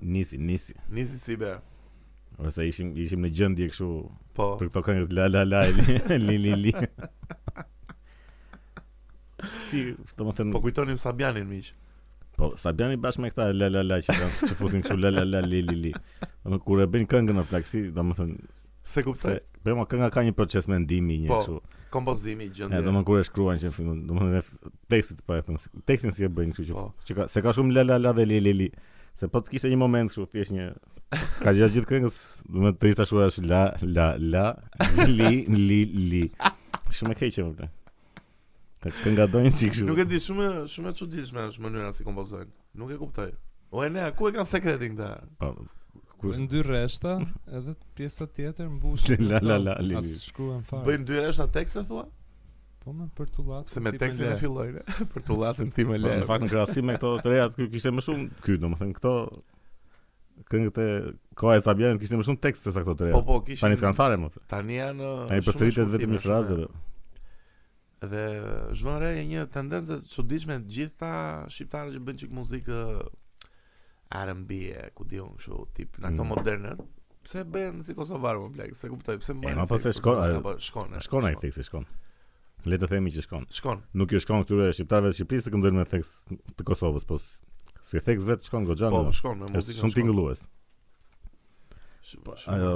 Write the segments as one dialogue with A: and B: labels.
A: nisi, nisi.
B: Nisi si be.
A: Ose ishim ishim në gjendje kështu
B: Po.
A: për këto këngët la la la li li li. li. si, domethënë,
B: Po
A: po,
B: kujtonim Sabianin miq.
A: po Sabiani bashkë me këta la la la që kanë, që fusin kështu la la la li li li. Domethënë kur e bën këngën në plaksi, domethënë
B: Se kuptoj.
A: se bëma kënga ka një proces mendimi një
B: Po,
A: kështu.
B: Kompozimi, gjendja.
A: E domethënë kur e shkruan që në fund, domethënë e- tekstit po e thon, tekstin si e bëjnë kështu që,
B: Po.
A: që ka, se ka shumë la la la dhe li li li. Se po të kishte një moment kështu thjesht një ka gjatë gjithë këngës, domethënë të ishte ashtu është la la la li li li. Shumë e keqe më vjen. Kënga dojnë çik kështu.
B: Nuk e di, shumë shumë e çuditshme është mënyra si kompozojnë. Nuk e kuptoj. O e nea, ku e kanë sekretin këta?
A: Po, ku
C: Në dy rreshta, edhe pjesa tjetër mbushet.
A: La, la, la, li,
C: as
A: li.
C: shkruan fare.
B: Bëjnë dy reshta tekste thua?
C: Po me për tullat.
B: Se me tekstin e fillojnë. Për tullatin tim e
A: Po,
B: le.
A: në fakt në krahasim me këto të reja ky kishte më shumë ky domethënë këto këngët e koha e Sabianit kishte më shumë tekst se sa këto të reja.
B: Po po, kishin.
A: Tani s'kan fare më.
B: Tani janë
A: Tani
B: shumë
A: përsëritet vetëm
B: shkurtime,
A: një frazë
B: shumë-
A: dhe
B: Dhe zhvon re një tendencë të çuditshme të gjithë ta shqiptarët që bëjnë çik muzikë eh, R&B, e, ku diun kështu, tip në ato
A: Mm.
B: moderne. Pse bëhen si kosovar më plak? Se kuptoj, pse mbajnë
A: ma po
B: tekst
A: se shkon,
B: kosovar,
A: a-
B: apo shkon. e,
A: Shkon ai teksti shkon. Le të themi që shkon.
B: Shkon.
A: Nuk ju shkon këtyre shqiptarëve të Shqipërisë të këndojnë me tekst të Kosovës, po s- si tekst vetë shkon goxha.
B: Po,
A: Po,
B: shkon me muzikën.
A: është shumë
B: shkon.
A: tingëllues.
B: Sh- shumë-
A: Ajo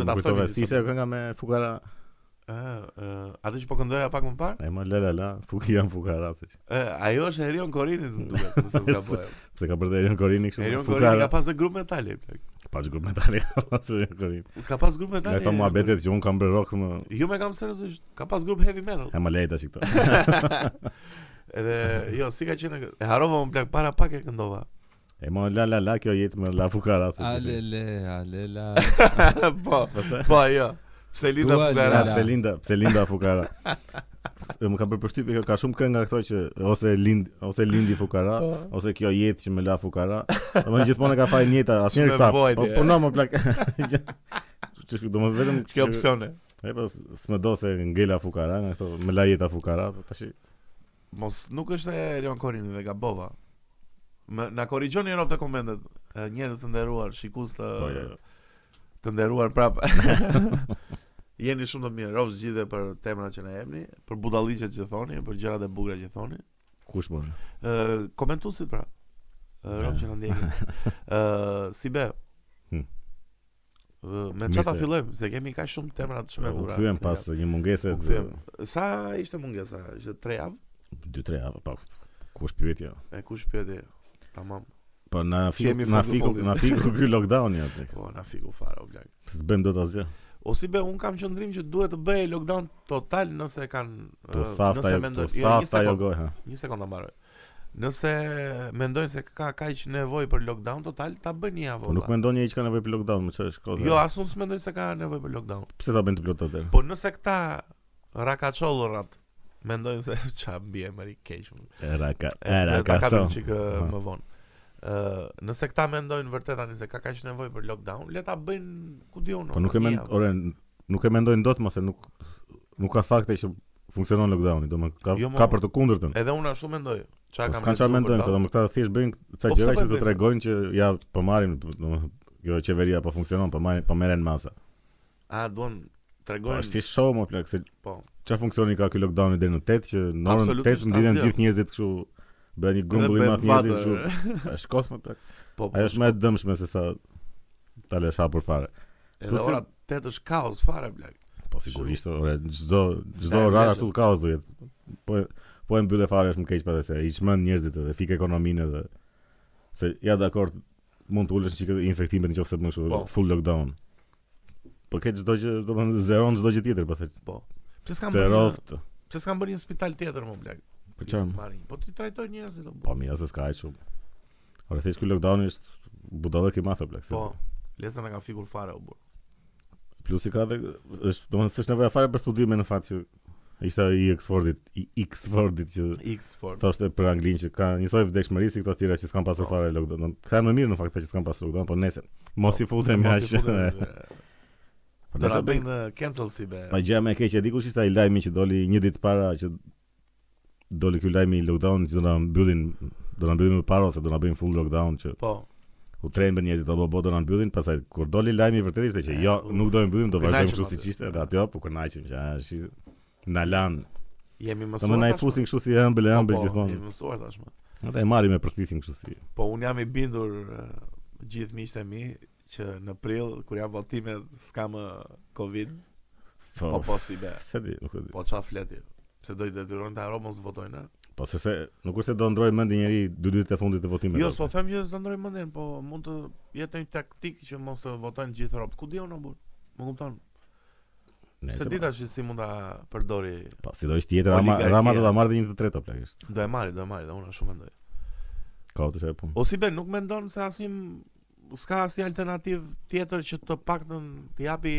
A: do ta
B: ta ftojmë
A: kujtove
B: disa
A: si ishte ajo kënga me Fukara.
B: Ë, ë, atë që po këndoja pak më parë,
A: Ai më la la la, Fuki jam Fukara. se që-
B: ë, ajo është Erion Korini të duket, nëse s'ka bëjë.
A: Pse ka bërë dhe Erion Korini kështu?
B: Erion
A: me
B: Korini ka
A: Fukara.
B: pas dhe grup metali, plak.
A: Pa çu komentari pas Erion Korini.
B: Ka pas grup metali.
A: Nga ato
B: Erion
A: muhabetet që un kam bërë rock më
B: Korini. Jo me kam seriozisht, ka pas grup heavy metal.
A: E më lejt tash këto.
B: Edhe jo, si ka qenë e- e harrova më plak para pak e këndova.
A: E më la la la kjo jetë me la Fukara. se që-
C: Alele, alela.
B: po,
A: Pastaj-
B: po jo. Pse Linda
C: Dua
A: Ja,
B: Fugara?
C: Lala.
A: pse Linda, pse Linda Fukara. S- Më ka bërë përshtypje ka shumë kënga këto që ose lind ose lindi Fukara
B: Po.
A: ose kjo jetë që më la Fukara. Domethënë gjithmonë e ka fajin jeta, asnjëherë
B: Shumë e
A: këta.
B: vojtje.
A: Po po na më plak. Gjë- Që do më vetëm
B: Kjo opsione.
A: E po s- s'më do se ngela Fukara nga këto më la jeta Fukara, po tash
B: Mos nuk është e Erion Korini dhe gabova. Më na korrigjoni në të komentet. e, Njerëz të nderuar, shikues
A: po jo.
B: të të nderuar prapë. Jeni shumë të mirë, rofs gjithë për temrat që na jepni, për budalliqet që thoni, për gjërat e bukura që thoni.
A: Kush bën?
B: Ë, komentuesit pra. Ë, Rob që na ndjekin. Ë, si be.
A: Hmm.
B: Ë, Me
A: Mirë
B: çfarë ta
A: se-
B: fillojmë? Se kemi kaq shumë temra të
A: U
B: shmendura.
A: kthyem pas një mungese
B: U kthyem. Sa ishte mungesa? Ishte 3 javë?
A: 2-3 javë, po. Kush pyetje?
B: E kush pyeti? Tamam.
A: Po na
B: Si jemi
A: fiku, na
B: fund të
A: fiku,
B: fundit.
A: na fiku ky lockdown ja. tek.
B: Po, na fiku fare o blaq.
A: S'bëjmë dot asgjë.
B: O si be, un kam qëndrim që duhet të bëj lockdown total nëse kanë
A: Tu
B: ë,
A: thafta,
B: Po, nëse
A: tu
B: mendoj- Jo, një
A: thafta jo
B: sekond,
A: gojë. ha.
B: Një sekond ta mbaroj. Nëse mendojnë se ka kaq nevojë për lockdown total, ta bëjnë një javë.
A: Po nuk
B: valla.
A: mendon një që ka nevojë për lockdown, më çfarë është koha?
B: Jo, as unë s'mendoj se ka nevojë për lockdown.
A: pse ta bën të plot atë?
B: Po nëse këta rakaçollrat mendojnë se ça bie më i keq. më.
A: Era ka,
B: E,
A: era
B: se
A: ka.
B: ta kapim çik e,
A: Aha.
B: më vonë. Ë, nëse këta mendojnë vërtet tani se ka kaq nevojë për lockdown, le ta bëjnë ku diun.
A: Po nuk e mend, ore, nuk e mendojnë dot mos se nuk nuk ka fakte që funksionon lockdowni, domethënë ka
B: Jo, mo.
A: ka për të kundërtën.
B: Edhe unë ashtu mendoj. Çka
A: Po
B: kam.
A: s'kan çfarë mendojnë,
B: këta?
A: domethënë këta thjesht bëjnë
B: Po
A: ca
B: pse
A: gjëra
B: po e
A: që të
B: bëjnë?
A: tregojnë që ja po marrin, domethënë kjo qeveria po funksionon, po marrin, po merren masa.
B: A duan
A: Po
B: tregojnë.
A: është thjesht show më plak se
B: Po.
A: çfarë funksioni ka ky lockdowni deri në 8 që në orën
B: Absolutisht
A: 8 ndjen
B: asgjë.
A: gjithë njerëzit kështu bëhen një grumbull i
B: Edhe
A: madh
B: bëhet
A: njerëzish
B: vatër.
A: kështu. Është shkos më plak.
B: Po. po,
A: Ajo është më e dëmshme se sa ta lësh hapur fare.
B: Edhe ora 8 është kaos fare blaq.
A: Po sigurisht, ore, çdo çdo
B: e
A: orar
B: mbledhur.
A: ashtu kaos do jetë. Po po e mbyllë fare është më keq pastaj se i çmend njerëzit edhe fik ekonominë edhe se ja dakord mund të ulësh çikë infektimet nëse më kështu
B: Po.
A: full lockdown. Po ke çdo gjë, domethënë zeron çdo gjë tjetër pastaj.
B: Pse s'kan
A: Të
B: bërë? një-
A: rroft.
B: Pse s'kan bërë një spital tjetër më blaq?
A: Për çfarë?
B: Marrin. Po ti trajtoj njerëzit. o,
A: Po mira se s'ka aq shumë. Ore, thjesht ky lockdown është budallëk i madh apo plak. se-
B: Po. Lesa na ka fikur fare u bur.
A: Plus i ka dhe është domethënë s'është nevoja fare për studime në fakt që ishte i Oxfordit, i Oxfordit që
B: X sport.
A: thoshte për Anglinë që ka njësoj vdekshmëri si këto të tjera që s'kan pasur
B: Po.
A: fare lockdown. Ka më mirë në fakt që s'kan pasur lockdown, po nesër. Mos i futem
B: Mos i
A: jashtë.
B: futem,
A: e.
B: e.
A: Po
B: Do ta
A: nëse
B: bëjnë
A: bëjnë.
B: uh, cancel si be.
A: Pa gjë më e keqe di kush ishte ai lajmi që doli një ditë para që doli ky lajmi i lockdown që do na mbyllin do na mbyllin më parë ose do na bëjnë full lockdown që
B: Po.
A: U trenë për njerëzit apo botë do na mbyllin, pastaj kur doli lajmi i vërtetë ishte që
B: E,
A: jo,
B: u-
A: nuk do e mbyllim, do
B: u
A: vazhdojmë
B: kënaqëm
A: kështu siç
B: atë.
A: ishte, edhe aty po kënaqem që a, shi na lan.
B: Jemi mësuar.
A: Domethënë ai
B: tashmë.
A: fusin kështu si ëmbël e
B: Po,
A: ëmbël
B: po,
A: gjithmonë.
B: Jemi mësuar tashmë.
A: Ata e marrin me përthithin kështu si.
B: Po unë jam i bindur eh, gjithë miqtë e mi që në prill kur janë votime s'ka më Covid, po
A: Po.
B: po si be.
A: Se di, nuk e di.
B: Po çfarë fleti? Pse do i detyrojnë ta Romën të votojnë? a?
A: Po se se nuk është se do ndroj mendin njëri dy ditët e fundit të votimit.
B: Jo,
A: apo.
B: s'po them që s'do ndrojmë mendin, po mund të jetë një taktik që mos të votojnë gjithë robët. Ku diun apo? Më kupton?
A: Nëse
B: Se
A: po.
B: di tash si mund ta përdori.
A: Po, si do ishte tjetër, Rama,
B: Oligarkia.
A: Rama do ta marrë dhe një të tretë plagësisht.
B: Do e marri, do e marri, do unë shumë mendoj.
A: Ka të shaj punë.
B: O si be, nuk mendon se asnjë s'ka asnjë alternativë tjetër që të paktën të japi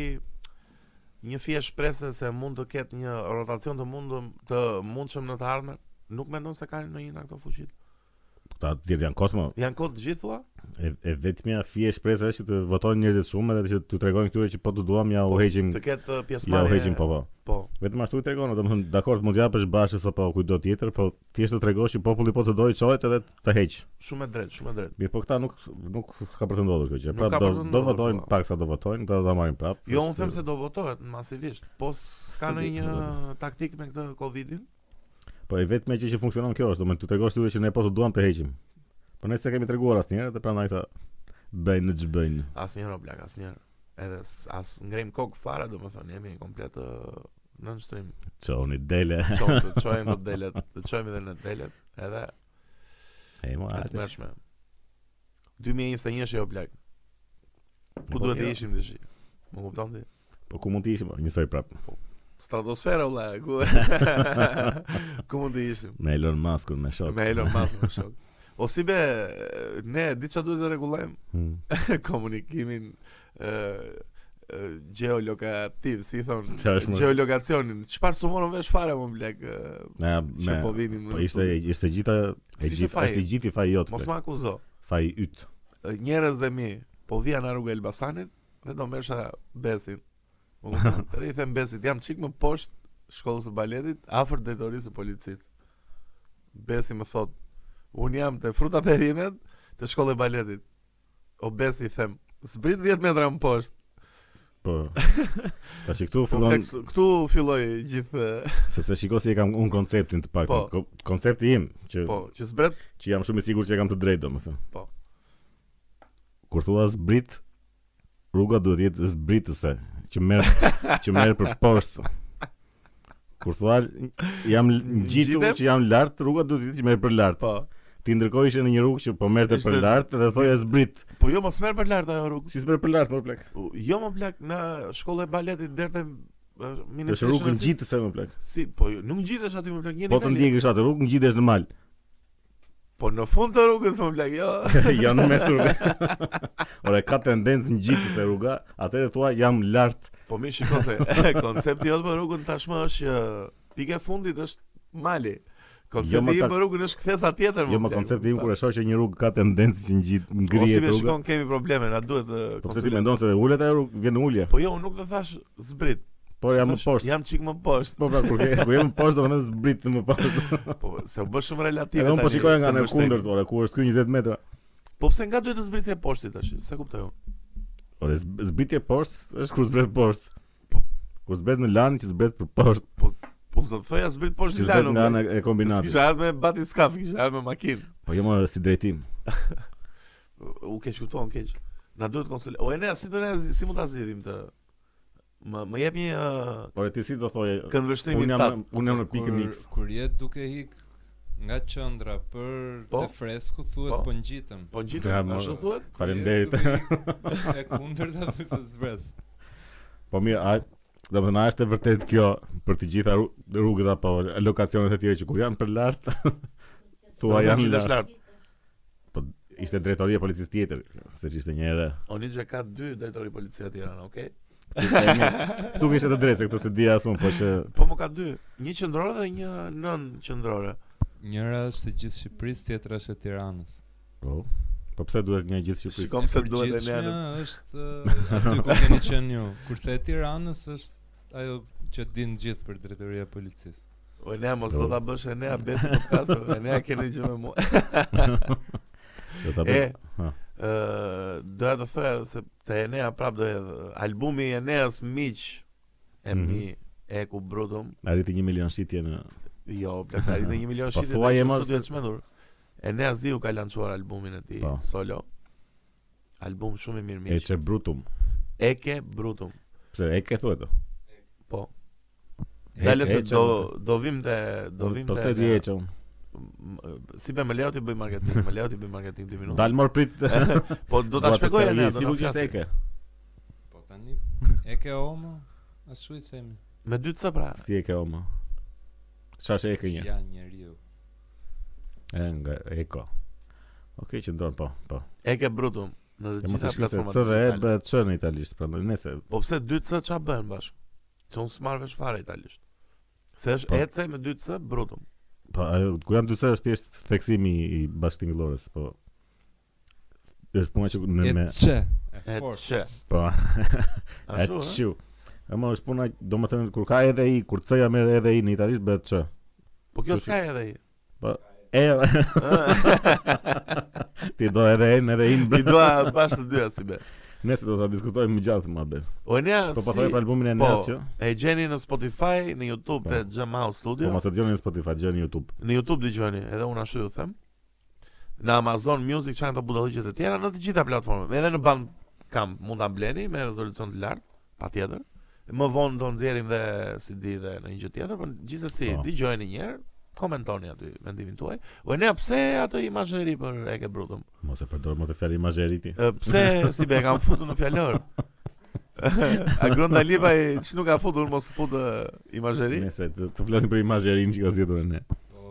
B: një fije shpresë se mund të ketë një rotacion të mundëm të mundshëm në të ardhmen. Nuk mendon se kanë ndonjë nga këto fuqit.
A: Këta të tjerë janë kosmo,
B: Janë kod të gjithë thua?
A: e, e vetmja fije shpresa është që të votojnë njerëzit shumë edhe që t'u tregojnë këtyre që po të duam ja u heqim,
B: Të ketë uh,
A: ja u
B: pjesëmarrje.
A: heqim po po.
B: po.
A: Vetëm ashtu i tregon, domethënë, dakor, mund japësh bashës apo kujdo tjetër, po thjesht të tregosh që populli po të dojë çohet edhe të heq.
B: Shumë e drejtë, shumë e drejtë.
A: Mirë, po këta nuk nuk ka për të ndodhur kjo gjë.
B: Nuk
A: Prap
B: ka
A: do
B: për të
A: do
B: ndodhur,
A: votojnë
B: po.
A: pak sa do votojnë, do ta marrin prap.
B: Jo, unë them se do votohet masivisht, po s'ka
A: Se di,
B: ndonjë taktik me këtë Covidin.
A: po e vetmja gjë që funksionon kjo është, domethënë, t'u tregosh tyre që ne po të duam të heqim. Po ne s'e kemi treguar asnjëherë, dhe prandaj tha bëjnë në ç'bëjnë.
B: Asnjëherë o blak, asnjëherë. Edhe s- as ngrem kok fare, domethënë jemi komplet uh, ë, nën shtrim.
A: Çoni dele.
B: Qojmë, të qojmë në delet, të qojmë edhe në delet, edhe
A: E mo,
B: e të
A: atë.
B: mërshme. 2021 është jo plak. Ku
A: Po,
B: duhet të
A: jo.
B: ishim të shi? Më kupton ti?
A: Po ku mund të ishim? Njësoj prap.
B: Stratosfera vëlla, ku ku mund të ishim?
A: Me Elon Muskun, me shok.
B: Me Elon Musk me shok. O si be, ne di çfarë duhet të rregullojmë
A: Hmm.
B: komunikimin ë ë, gjeolokativ, si thon,
A: Çfarë është, mo?
B: gjeolokacionin. Çfarë sumorën vesh fare më blek
A: Na,
B: që po
A: me
B: vinim.
A: Po
B: në
A: ishte
B: studio.
A: ishte gjitha e
B: Si ishte
A: gjithë
B: faji?
A: është i gjithë i faji jot.
B: Mos
A: plak.
B: më akuzo.
A: Faji yt.
B: njerëz dhe mi, po vija në rrugë e Elbasanit dhe do mërsha besin. U kupton? Dhe i them besit, jam çik më poshtë shkollës së baletit, afër drejtorisë së policisë. Besi më thot, un jam te fruta perimet te shkolla e baletit. O besi i them, zbrit 10 metra më poshtë.
A: Po. Tash këtu
B: Po
A: fillon
B: tek s- këtu filloi gjithë,
A: sepse shiko si e kam un konceptin të pak.
B: Po.
A: Koncepti im që
B: po, që zbret
A: që jam shumë i sigurt që e kam të drejtë domethënë.
B: Po.
A: Kur thua zbrit rruga duhet jetë zbritëse që merr që merr për poshtë. Kur thua jam l- ngjitu
B: Ngjitem?
A: që jam lart, rruga duhet jetë që merr për lart.
B: po.
A: Ti ndërkohë ishe në një rrugë që po merrte për
B: Ishte-
A: lart dhe thoje zbrit.
B: Po jo mos merr për lart ajo rrugë.
A: Si s'merr për lart më plak?
B: U- Jo më blak në shkollë e baletit derdhe
A: Është
B: Ministrisë
A: rrugë ngjitëse më plak.
B: Si, po jo, nuk ngjitesh aty më plak njëri
A: Po të
B: tani.
A: ndjekësh atë rrugë ngjitesh në mal.
B: Po në fund të rrugës më plak, jo.
A: jo në mes të rrugës. Ora ka tendencë ngjitëse rruga, atëherë thua jam lart.
B: Po mi shiko se koncepti jot për rrugën tashmë është që pika e fundit është mali.
A: Jo, më
B: Koncepti
A: tak-
B: i për rrugën është kthesa tjetër më. Po,
A: Jo më koncepti im kur e shoh që një rrugë ka tendencë që ngjit
B: ngrihet
A: ngrihet
B: rruga. Ose
A: rruga.
B: shikon kemi probleme, na duhet të
A: Po pse ti mendon se ulet ajo rrugë vjen ulje?
B: Po jo, unë nuk do thash zbrit.
A: Por jam më
B: thash,
A: poshtë.
B: Jam çik më poshtë.
A: Po pra kur ke kur jam më poshtë domethënë zbrit më poshtë.
B: Po se u bë shumë relative
A: Edhe unë po
B: tani,
A: shikoja nga
B: të
A: në
B: vështirë.
A: kundër ora ku është ky 20 metra.
B: Po pse nga duhet të zbrit se poshtë tash? Se kuptoj unë.
A: Ora zb- zbritje poshtë është kur zbret poshtë.
B: Po.
A: Kur zbret në lan që zbret për poshtë,
B: Po do të thoja zbrit poshtë
A: që
B: i
A: zbret
B: lanë.
A: nga
B: unë.
A: ana e kombinatit.
B: S'kisha ardhë me bati skaf, kisha ardhë me makinë.
A: Po jo më si drejtim.
B: U keq kupton, keq. Na duhet konsul. O Enea, si do ne si mund ta zgjidhim të më më jep një uh,
A: Ora ti si do thoje?
B: këndvështrimin
A: Unë
B: tat.
A: jam unë jam në pikën
C: Kur-
A: X.
C: Kur je duke hik nga qendra për
B: Po.
C: të fresku thuhet
B: Po.
C: po, ngjitëm.
B: Po ngjitet,
A: Ja,
B: ashtu
A: mo-
B: thuhet?
C: Kur je
A: Faleminderit.
C: duke hik E kundërta duke të zbres.
A: Po mirë, a do të thënë a është e vërtet kjo për të gjitha rru- rrugët apo lokacionet e tjera që kur janë për lart thua janë
B: ngjitet
A: lart.
B: lart.
A: Ishte drejtoria e policisë tjetër, se që ishte një herë.
B: Oni që ka dy drejtori policia Tirana, okay?
A: Ktu kishte të drejtë, se këtë se di as unë, po që
B: Po më ka dy, një qendrore dhe një nën qendrore.
C: Njëra është e gjithë Shqipërisë, tjetra është e Tiranës.
A: po. Po pse duhet një gjithë Shqipërisë?
B: Shikom se duhet e
C: Përgjithshmja
B: ne.
C: është uh, aty ku keni qenë ju. Kurse e Tiranës është ajo që din gjithë për drejtoria e policisë.
B: O Enea mos
A: Jo.
B: do ta bësh Enea besi podcast, Enea keni gjë me mua.
A: Do ta bëj.
B: E,
A: Ha.
B: Ë, doja të thoja se te Enea prap do edhe albumi i Eneas miq e
A: Mhm.
B: mi e ku brutum.
A: Arriti 1 milion shitje në
B: Jo, plakari në 1 milion
A: Po
B: shitje.
A: thuaj,
B: në
A: mos-
B: studio të çmendur. Enea Ziu ka lançuar albumin e tij
A: Po.
B: solo. Album shumë i mirë
A: e
B: miq.
A: çe brutum.
B: Eke brutum.
A: Pse e ke thuaj to?
B: Po.
A: E-
B: Dale se
A: e që-
B: do do vim te do vim te.
A: Po pse di e çum?
B: M- Si be me leo ti bëj marketing, me leo ti bëj marketing 2 minuta.
A: Dal mor prit.
B: Po do ta
A: Dua
B: shpjegoj
A: speciali,
B: Enea, do
A: si
B: ta
A: nuk ishte
B: flasë.
A: eke.
C: Po tani e ke omo, ashtu i themi.
B: Me dy ca pra.
A: Si eke oma. Çfarë është eke një?
C: Ja njeriu.
A: E nga eko. Okej, që ndron po, po.
B: Eke brutum në
A: E
B: të
A: mos e
B: gjitha
A: shkruaj
B: platformat.
A: C dhe E
B: digitale.
A: bëhet C në italisht, prandaj nëse
B: Po pse 2C ç'a bën bashkë? Se unë s'marr vesh fare italisht. Se është
A: Po.
B: EC me 2C brutum.
A: po ajo kur janë dy C është thjesht theksimi i bashkëtingëllores, po është puna që në
C: E
A: me
C: çe. E fort.
B: EC.
A: po
B: Ashtu. ë?
A: atë Ama është puna, do më thënë, kur ka edhe i, kur C ja merë edhe i në italisht, bëhet që.
B: Po kjo
A: Kështu
B: s'ka edhe i.
A: E,
B: Ë,
A: ti do edhe e në edhe i në
B: I dua bashkë të dyja si be.
A: Nëse do të diskutojmë më gjatë më abes.
B: O Enea
A: Po po
B: si
A: thoj për albumin e jo?
B: po.
A: Nes që,
B: e gjeni në Spotify, në YouTube
A: Po.
B: te Jam House
A: po
B: Studio.
A: mos e dëgjoni në Spotify, dëgjoni në YouTube.
B: Në YouTube dëgjoni, edhe unë ashtu ju them. Në Amazon Music çan të budalliqet e tjera në të gjitha platformat. Edhe në Bandcamp mund ta bleni me rezolucion të lartë, patjetër. Më vonë do nxjerrim dhe CD dhe në një gjë tjetër, por gjithsesi
A: Po.
B: dëgjojeni një herë, komentoni aty vendimin tuaj. O ne pse ato imazheri për e ke brutëm?
A: Mos e përdor më të fjalë imazheriti.
B: Ë, Pse si be e kam futur në fjalor? Agron Dalipa i që nuk ka futur mos të futë imazheri.
A: Nëse të, të flasim për imazherin që ka zgjedhur ne.
C: Po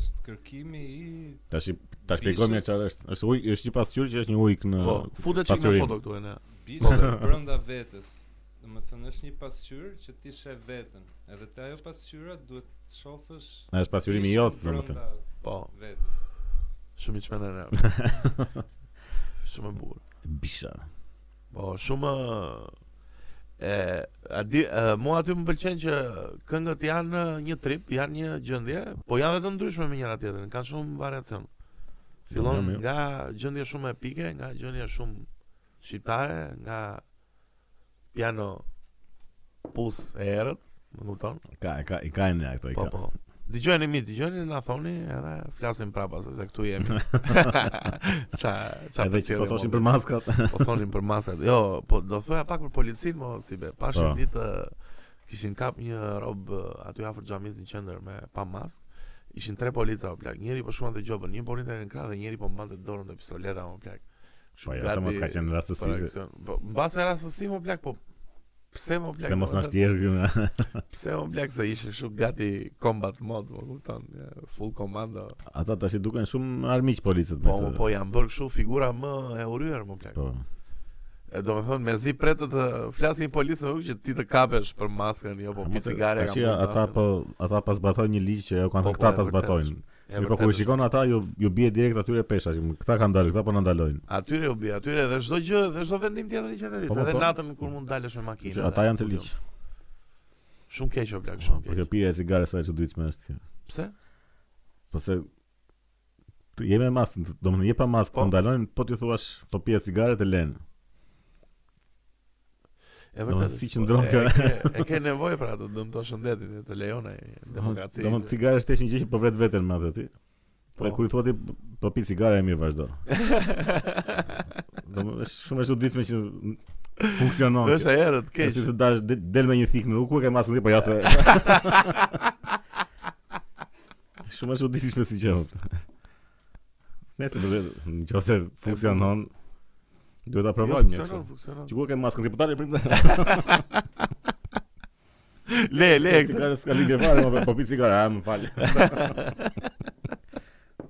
C: është kërkimi i
A: Tash i- ta shpjegojmë ne
C: Bishës.
A: çfarë është. Është ujë, është një pasqyrë që është një ujk në
B: Po, futet çik me
A: pasurim.
B: foto këtu e ne.
A: Po.
C: bishës brenda vetes. Do të thënë është një pasqyrë që ti sheh veten. Edhe te ajo pasqyra duhet të shofësh
A: Na është pasqyrimi
C: bishën
A: jot, domethënë.
C: brenda
B: Po,
C: vetes.
B: Shumë i çmendur ne. shumë e bukur.
A: Bisha.
B: Po, shumë e a di e, mua aty më pëlqen që këngët janë një trip, janë një gjendje, po janë dhe të ndryshme me njëra tjetrën, kanë shumë variacion. Fillon
A: Mirë, mirë.
B: nga gjendje shumë epike, nga gjendje shumë shqiptare, nga piano pus e erët, më kupton?
A: Ka ka i ka ne ato i
B: Po,
A: ka.
B: po. Dëgjojeni mi, dëgjojeni na thoni edhe flasim prapa se se këtu jemi. Ça ça
A: Edhe që po
B: pëlqeni
A: thoshin
B: mua.
A: për maskat.
B: Po thonin për masat. Jo, po do thoja pak për policin, mo si be. Pashën
A: Po.
B: ditë kishin kap një rob ë, aty afër xhamisë në qendër me pa mask. Ishin tre polica o plak. Njëri po shkonte gjobën, një po rinte në krah dhe njëri po mbante dorën me pistoleta o plak.
A: Po ja, se mos ka qenë
B: për
A: rastësi. se-
B: aksion. Po mbas rastësi mo plak, po pse mo plak?
A: Se mos
B: do
A: na
B: të
A: shtjerë këtu.
B: thënë, Pse mo plak se ishin shumë gati combat mode, mo kupton, ja, full komando.
A: Ata tash i duken shumë armiq policët.
B: Po,
A: me
B: mo,
A: këtë.
B: po janë bërë kështu figura më e urryer mo plak.
A: Po.
B: E do me thonë, me zi pretë të flasin një polisë nuk që ti të kapesh për maskën, jo po
A: Ama
B: pi
A: se
B: cigare
A: tash ja, ata po ata pas zbatojnë një ligj që ajo kanë
B: Po,
A: thënë
B: po,
A: këta ta
B: e vërtet
A: zbatojnë.
B: E
A: Mirë, po kur i shikon ata ju ju bie direkt atyre pesha që këta kanë dalë, këta po na ndalojnë.
B: Atyre u bi, atyre dhe çdo gjë, dhe çdo vendim tjetër i
A: Po,
B: qeverisë,
A: po,
B: edhe
A: po.
B: natën kur mund dalësh me makinë.
A: Që Ata janë të ligj.
B: Shumë keq o plak,
A: Po
B: po, jo. shumë
A: kjo
B: keq.
A: pirja e cigares sa e çuditshme është kjo.
B: Pse?
A: Po se të je me maskë, të- do më thënë je pa maskë,
B: Po.
A: të ndalojnë, po ti thua po pije cigare të lenë.
B: E
A: Do me
B: vërtet.
A: si
B: është,
A: që ndron
B: po,
A: kjo.
B: e ke- E ke nevojë për atë, dëmton shëndetin, e të lejon ai demokraci.
A: Do më thënë cigare është thjesht një gjë që po vret veten me atë ti. Po
B: Po.
A: kur i thua ti po pi cigare e mirë vazhdo. Do më thënë, është shumë e çuditshme që funksionon. kjo.
B: Është e erët keq.
A: Është si të dash de- del me një thik në rrugë, ku e ke maskën ti, po ja se. Shumë është uditishme si që. Nëse do të nëse funksionon, duhet ta
B: Jo,
A: provojmë.
B: funksionon,
A: ne,
B: funksionon.
A: kështu. Që ku e ke maskën ti, po tani prit.
B: Le, le.
A: E cigare Po s'ka lidhje fare, mo, po pi cigare, a më fal.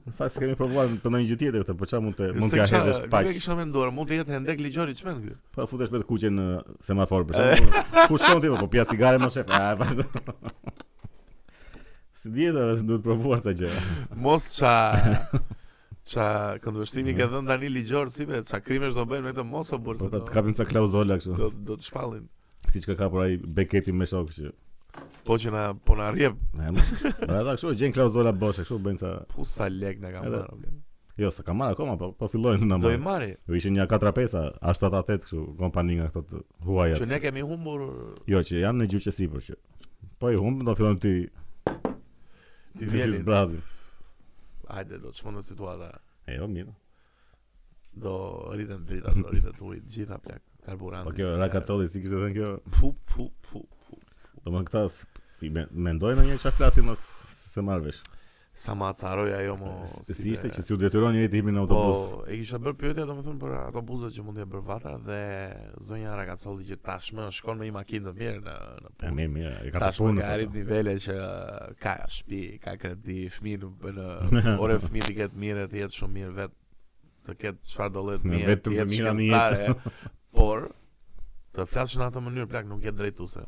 A: Në fakt se kemi provuar për ndonjë gjë tjetër këtë, po çfarë mund të mund të hedhësh
B: pak. Nuk e
A: paq.
B: kisha menduar, mund të jetë hendek ligjori çmend ky.
A: Po futesh me të kuqen në semafor për shembull. Ku shkon ti po pija cigare mos e pa. vazhdo. Si dihet, ora, se duhet provuar ta gjë.
B: Mos ça ça këndvështrimi ke dhënë tani ligjor si be, ça krimesh do bëjnë me këtë mos o burse.
A: Po
B: Do,
A: pra të kapim ca klauzola
B: do,
A: kështu.
B: do të shpallin.
A: Siç ka kapur ai Beketi me shok që.
B: Po që na po na rrjep,
A: Ne. Po ata kështu gjen klauzola boshe, kështu bëjnë ca.
B: pu sa lek na ka
A: Edhe-
B: marrë. bler.
A: Jo, s'ka marr akoma, po po fillojnë na
B: Do i
A: marr.
B: marri,
A: Jo ishin një 4-5, a 7-8 kështu kompani nga këto të huajat.
B: që ne kemi humbur
A: Jo, që janë në gjuqe sipër që. Po i humb, do fillon ti ti
B: Ti vjeni.
A: zbrazin.
B: Hajde, do të shmonë në situata.
A: E jo, mirë.
B: Do rriten drita, do rritet uji, të gjitha plak. Karburanti.
A: Po kjo
B: cigare.
A: Rakacolli si kishte thënë kjo,
B: Pu, pu, pu, pu.
A: domethënë këta s- i me- mendojnë ndonjë çfarë flasin mos se marr vesh.
B: Sa ma acaroj ajo mo...
A: Si
B: be-
A: si ishte që si u detyron njëri të himin në autobus.
B: Po, e kisha bërë pyetje domethënë për ato buzë që mund të bërë vatra dhe zonja Rakacolli që tashmë shkon me një makinë të mirë në në
A: E
B: punë.
A: mirë, mirë, e ka të
B: Tashmë
A: punës.
B: po ka arrit
A: ato.
B: nivele që ka shtëpi, ka kredi, fëmijë nuk bën ore fëmijë të ketë mirë, të jetë shumë mirë vet, të ketë çfarë do lloj të
A: Me
B: mirë,
A: vetëm të
B: jetë
A: mira në
B: shkencëtare, por të flasësh në atë mënyrë plak nuk je drejtuese.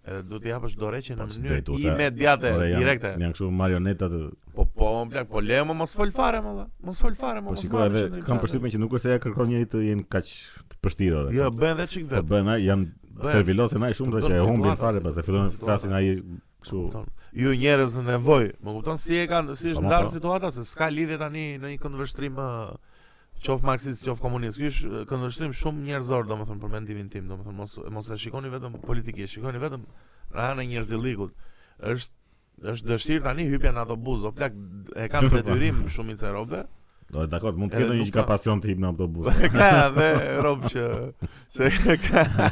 B: Edhe duhet t'i japësh doreqe
A: Po,
B: në
A: si
B: mënyrë
A: drejtuese,
B: imediate,
A: Ore, janë-
B: direkte.
A: Janë kështu marioneta të
B: Po po, plak, po le më mos fol fare më valla. Mos fol fare më.
A: Po
B: mos
A: shikoj
B: marrësh
A: edhe
B: qendrim
A: kam
B: qartë.
A: përshtypjen që nuk është se ja kërkon njëri të jenë kaq të pështirë. ore.
B: Jo, bën edhe çik
A: Po
B: vet.
A: bëhen ai janë
B: Bëhen.
A: servilose ai shumë
B: Të
A: që e
B: bën
A: humbin
B: situata,
A: fare
B: si-
A: pas e fillojnë të
B: situata.
A: flasin ai kështu.
B: kupton. Ju njerëz në nevojë, më kupton si e kanë, si
A: Po,
B: është
A: ma,
B: ndarë
A: po.
B: situata se s'ka lidhje tani në një këndvështrim ë, qof marksist, qof komunist. Ky është ë, këndvështrim shumë njerëzor, domethënë për mendimin tim, domethënë mos mos e shikoni vetëm politikisht, shikoni vetëm në anën e njerëzillikut. Është është dëshirë tani hypja në autobus, o plak e kanë detyrim shumica e robëve.
A: Do dakor, mund të
B: Edhe
A: ketë një
B: nuk
A: që ka
B: ka-
A: pasion të hip në autobus.
B: Ka edhe robë që që ka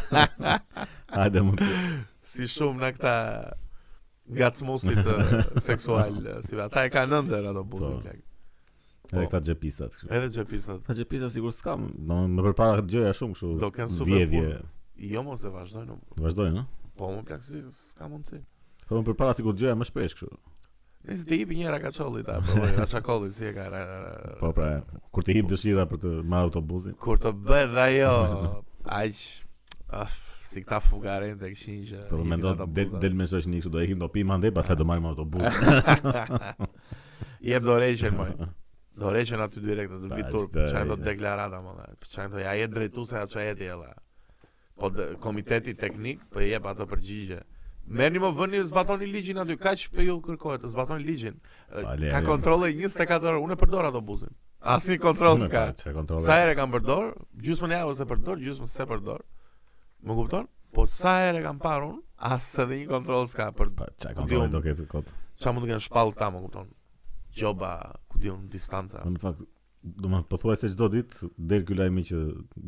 A: Hajde mund të.
B: si shumë në këta gacmosit ë, seksual, ë, si ata e kanë ndër ato buzën
A: Po.
B: plak.
A: Edhe
B: Po.
A: këta xhepisat kështu.
B: Edhe xhepisat.
A: Këta xhepisa sigurisht s'kam, domethënë më përpara dëgjoja shumë kështu.
B: Do kenë super
A: vjedhje.
B: Jo mos e vazhdojnë. o.
A: Vazhdojnë, ëh.
B: Po më plak si s'ka mundsi.
A: Po më përpara sigurisht dëgjoja më shpesh kështu.
B: Nëse ti hipi një rakaçolli ta, po rakaçolli si e ka. ra- ra-
A: Po pra, kur të hip dëshira për të marrë autobusin.
B: Kur të bëhet ajo aq af, si këta fugaren të këshin që
A: Po
B: hipin
A: mendon
B: ato
A: del
B: buzat.
A: del me shoqni kështu do e hip do pi mandej pastaj do marrim autobus.
B: Jep dorëqen moj. Dorëqen aty direkt të vi
A: Pa,
B: turp.
A: s'do
B: Çfarë do
A: rreqen.
B: të deklarata më? Çfarë do ja jetë drejtuese atë çfarë jeti ella. Po dë- komiteti teknik po i jep ato përgjigje. Merrni më vëni zbatoni ligjin aty, kaq po ju kërkohet të zbatoni ligjin. Ë,
A: Pa, le,
B: Ka
A: le.
B: kontrolle 24 orë, unë e përdor autobusin. Asnjë kontroll s'ka.
A: Çfarë kontrolle?
B: Sa herë e kam përdor, gjysmën e javës e përdor, gjysmën s'e përdor. Më kupton? Po sa herë e kam parë unë, as edhe një kontroll s'ka për
A: Pa, çfarë kontrolle
B: Unë-
A: do ketë kot.
B: Qa mund të kenë shpallë ta, më kupton? Gjoba, ku diun, distanca.
A: Po, Në fakt, do më pothuaj se çdo ditë del ky lajmi që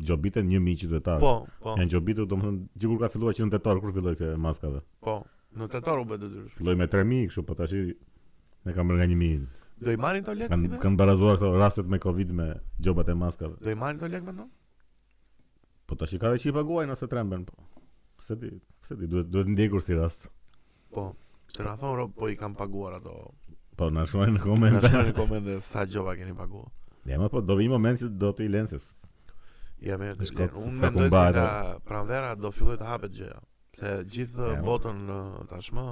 A: gjobiten 1000 qytetarë.
B: Po, po,
A: Janë gjobitur, domethënë gjithkur ka filluar që në tetor kur filloi kjo e maskave.
B: po. Në tetor u bë detyrë.
A: Filloi me 3000 kështu, po tash i- ne kanë bërë nga 1000.
B: Do i marrin to lek Po si
A: Kan
B: me?
A: kanë barazuar këto rastet me Covid me gjobat e maskave.
B: Do i marrin to lek me no?
A: Po tash i ka dhe që i paguajnë ose tremben, po. Pse ti, pse ti duhet duhet ndjekur si rast.
B: Po. Të na thonë, rob, po i kam paguar ato.
A: Po na shkruajnë në
B: Në
A: komente.
B: shkruani në komente sa gjoba keni paguar.
A: Ja, më po do vi moment që do të i lënë se.
B: Ja me,
A: Është
B: le-
A: kot,
B: unë
A: s'ka
B: mendoj se
A: kumbare.
B: nga pranvera do filloj të hapet gjëja. Se gjithë
A: Ja, mo.
B: botën ë, tashmë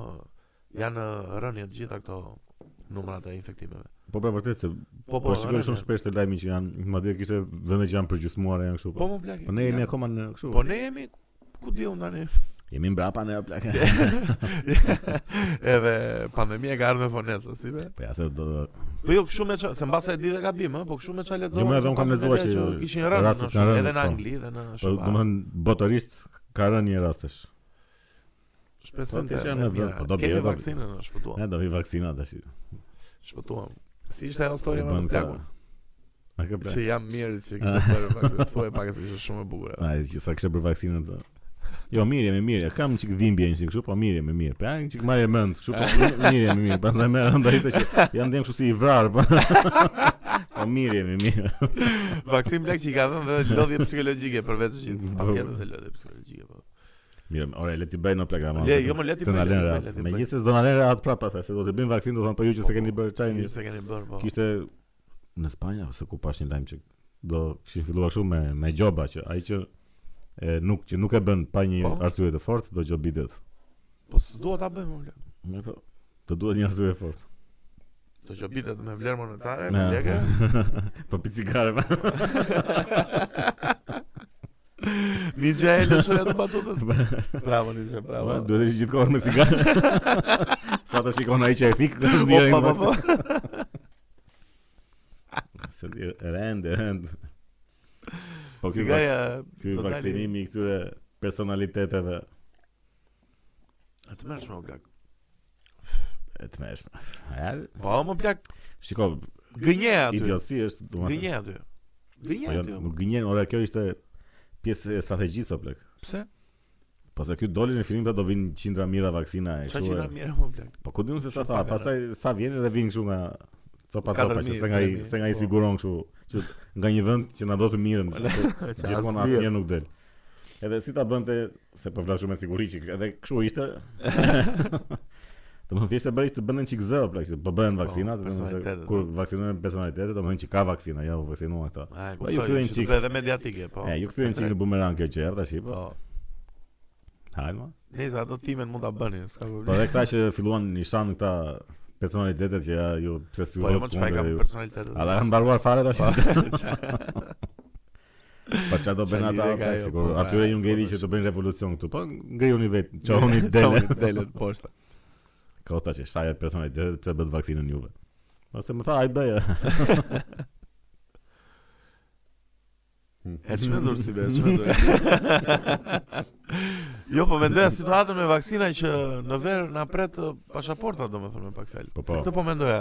B: janë ë, rënje të gjitha këto numrat e infektimeve.
A: Po pra vërtet se
B: Po
A: po shikoj
B: rënje.
A: shumë shpesh të lajmi që janë madje kishte vende që janë përgjysmuara janë kështu.
B: Po
A: Po,
B: më plak.
A: po ne jemi akoma në kështu.
B: Po ne jemi ku diun tani.
A: Jemi mbrapa ne apo
B: Se- Edhe pandemia ka ardhur me fonesa, si be.
A: Po ja se do
B: Po jo, shumë e qa, se mbas e di dhe gabim, ë, po shumë e qa lexova.
A: Jo, më edhe unë kam
B: shumë
A: lexuar
B: e
A: që
B: kishin rënë në
A: rastet
B: shumë,
A: kanë rënë,
B: edhe në
A: po.
B: Angli dhe në
A: Po do të
B: Shqipëri.
A: thënë botërisht ka rënë një rastesh.
B: Shpresoj
A: po,
B: të
A: të
B: janë
A: qenë në
B: mirë.
A: vend, po,
B: Do
A: do
B: kemi
A: bjerë, do-
B: vaksinën, në shpëtuam.
A: Ne do vi vaksina tash.
B: Shpëtuam. Si ishte
A: Po
B: ajo storia me të plakun,
A: Na ke plan.
B: që jam mirë që kishte bërë vaksinën. Thuaj pak se ishte shumë e bukur. e.
A: Ai që sa kishte për vaksinën të. Jo, mirë jemi mirë. Kam çik dhimbje një çik kështu, po mirë jemi mirë. Po ja një çik marrë mend kështu, po mirë jemi mirë. Pastaj më rënda ishte që jam ndjem kështu si i vrarë. Po, po mirë jemi mirë.
B: Vaksin plak që i ka dhënë dhe lodhje psikologjike përveç gjithë.
A: Po.
B: Pa tjetër dhe lodhje psikologjike po.
A: Mirë, ore le ti bëj në plagë ama.
B: Le, jo më le ti
A: Të na
B: bëj, le
A: lënë
B: ti bëj, le
A: rehat.
B: ti bëj.
A: Megjithëse s'do na lënë rehat prapë pastaj, se do të bëjmë vaksinë do thonë po ju që se keni bërë çajin.
B: Ju se keni bërë po.
A: Kishte në Spanjë ose ku pash një lajm që do kishin filluar kështu me me gjoba që ai që e, nuk që nuk e bën pa një
B: Po.
A: arsye të fortë do gjobitet.
B: Po s'dua ta bëjmë unë.
A: Më po, të duhet një arsye fortë.
B: Do që bitet me vlerë monetare, me
A: Na.
B: lege.
A: po pi cigare. pa.
B: Mi gjaj e lëshoj atë batutën. Bravo, Nisha, bravo.
A: Po, Duhet të ish gjithkohë me cigare.
B: Po,
A: Sa të shikon ai që e fik,
B: O,
A: ndjej.
B: po, po, po.
A: se di, rend, rend. Po ky vak-
B: Cigaja
A: ky
B: do dali-
A: vaksinimi i këtyre personaliteteve
B: A të mërshme o plak
A: e tmeshme. Ja,
B: Po më plak
A: shiko,
B: Gënje aty
A: idioci është, domethënë.
B: Gënje aty Gënje
A: Po jo,
B: aty
A: nuk gënjen, ora kjo ishte pjesë e strategjisë o plak.
B: Pse?
A: Po se ky doli në fillim ta do vinë qindra mira vaksina e
B: Qa
A: kështu.
B: që
A: e-
B: nga mjera më plak
A: Po ku diun se sa tha,
B: Shumë pak
A: pastaj sa vjen dhe vin kështu nga copa
B: Katër
A: copa që
B: mijë,
A: se nga i
B: tre
A: se nga i
B: mijë, po.
A: siguron kështu që nga një vend që na do të mirën. që Gjithmonë
B: asnjë.
A: asnjë nuk del. Edhe si ta bënte se po flas shumë me siguri që edhe kështu ishte. Do të thjesht e bëri të bënin çik zë, plak, që po bëhen vaksinat, do të thonë se
B: personalitetet,
A: kur
B: po.
A: vaksinojnë personalitetet, do të thonë që ka vaksina, ja u vaksinuan këta.
B: Ai,
A: Po, ju
B: kuptoj,
A: thyen
B: që
A: qik.
B: duke Edhe mediatike po
A: E, ju kthyen çik në bumerang kjo gjë, tash po.
B: Po
A: Hajde ma.
B: Nëse ato timen mund ta bënin, s'ka
A: Po
B: problem.
A: edhe këta që filluan nishan këta personalitetet që ja ju pse s'ju
B: Po jo më
A: vot
B: çfarë
A: kundër.
B: ka
A: ju-
B: personalitetet.
A: A da kanë mbaruar fare tash? Po çfarë do
B: Qa
A: bëjnë
B: lidhe
A: ata
B: ka
A: plak,
B: ajo,
A: sigur
B: po,
A: atyre
B: pra,
A: ju ngeli
B: po,
A: që
B: tash.
A: të bëjnë revolucion këtu, po ngrihuni vetë, çohuni dele.
B: Çohuni delet poshtë.
A: Kota që shaja personalitetet pse bëhet vaksinën juve. Ose më tha ai bëj.
B: E çmendur si be, e çmendur. jo, po mendoja situatën me vaksinën që në verë na pret ë, pasaporta domethënë me pak fjalë.
A: Po,
B: Po,
A: po.
B: Këtë po mendoja.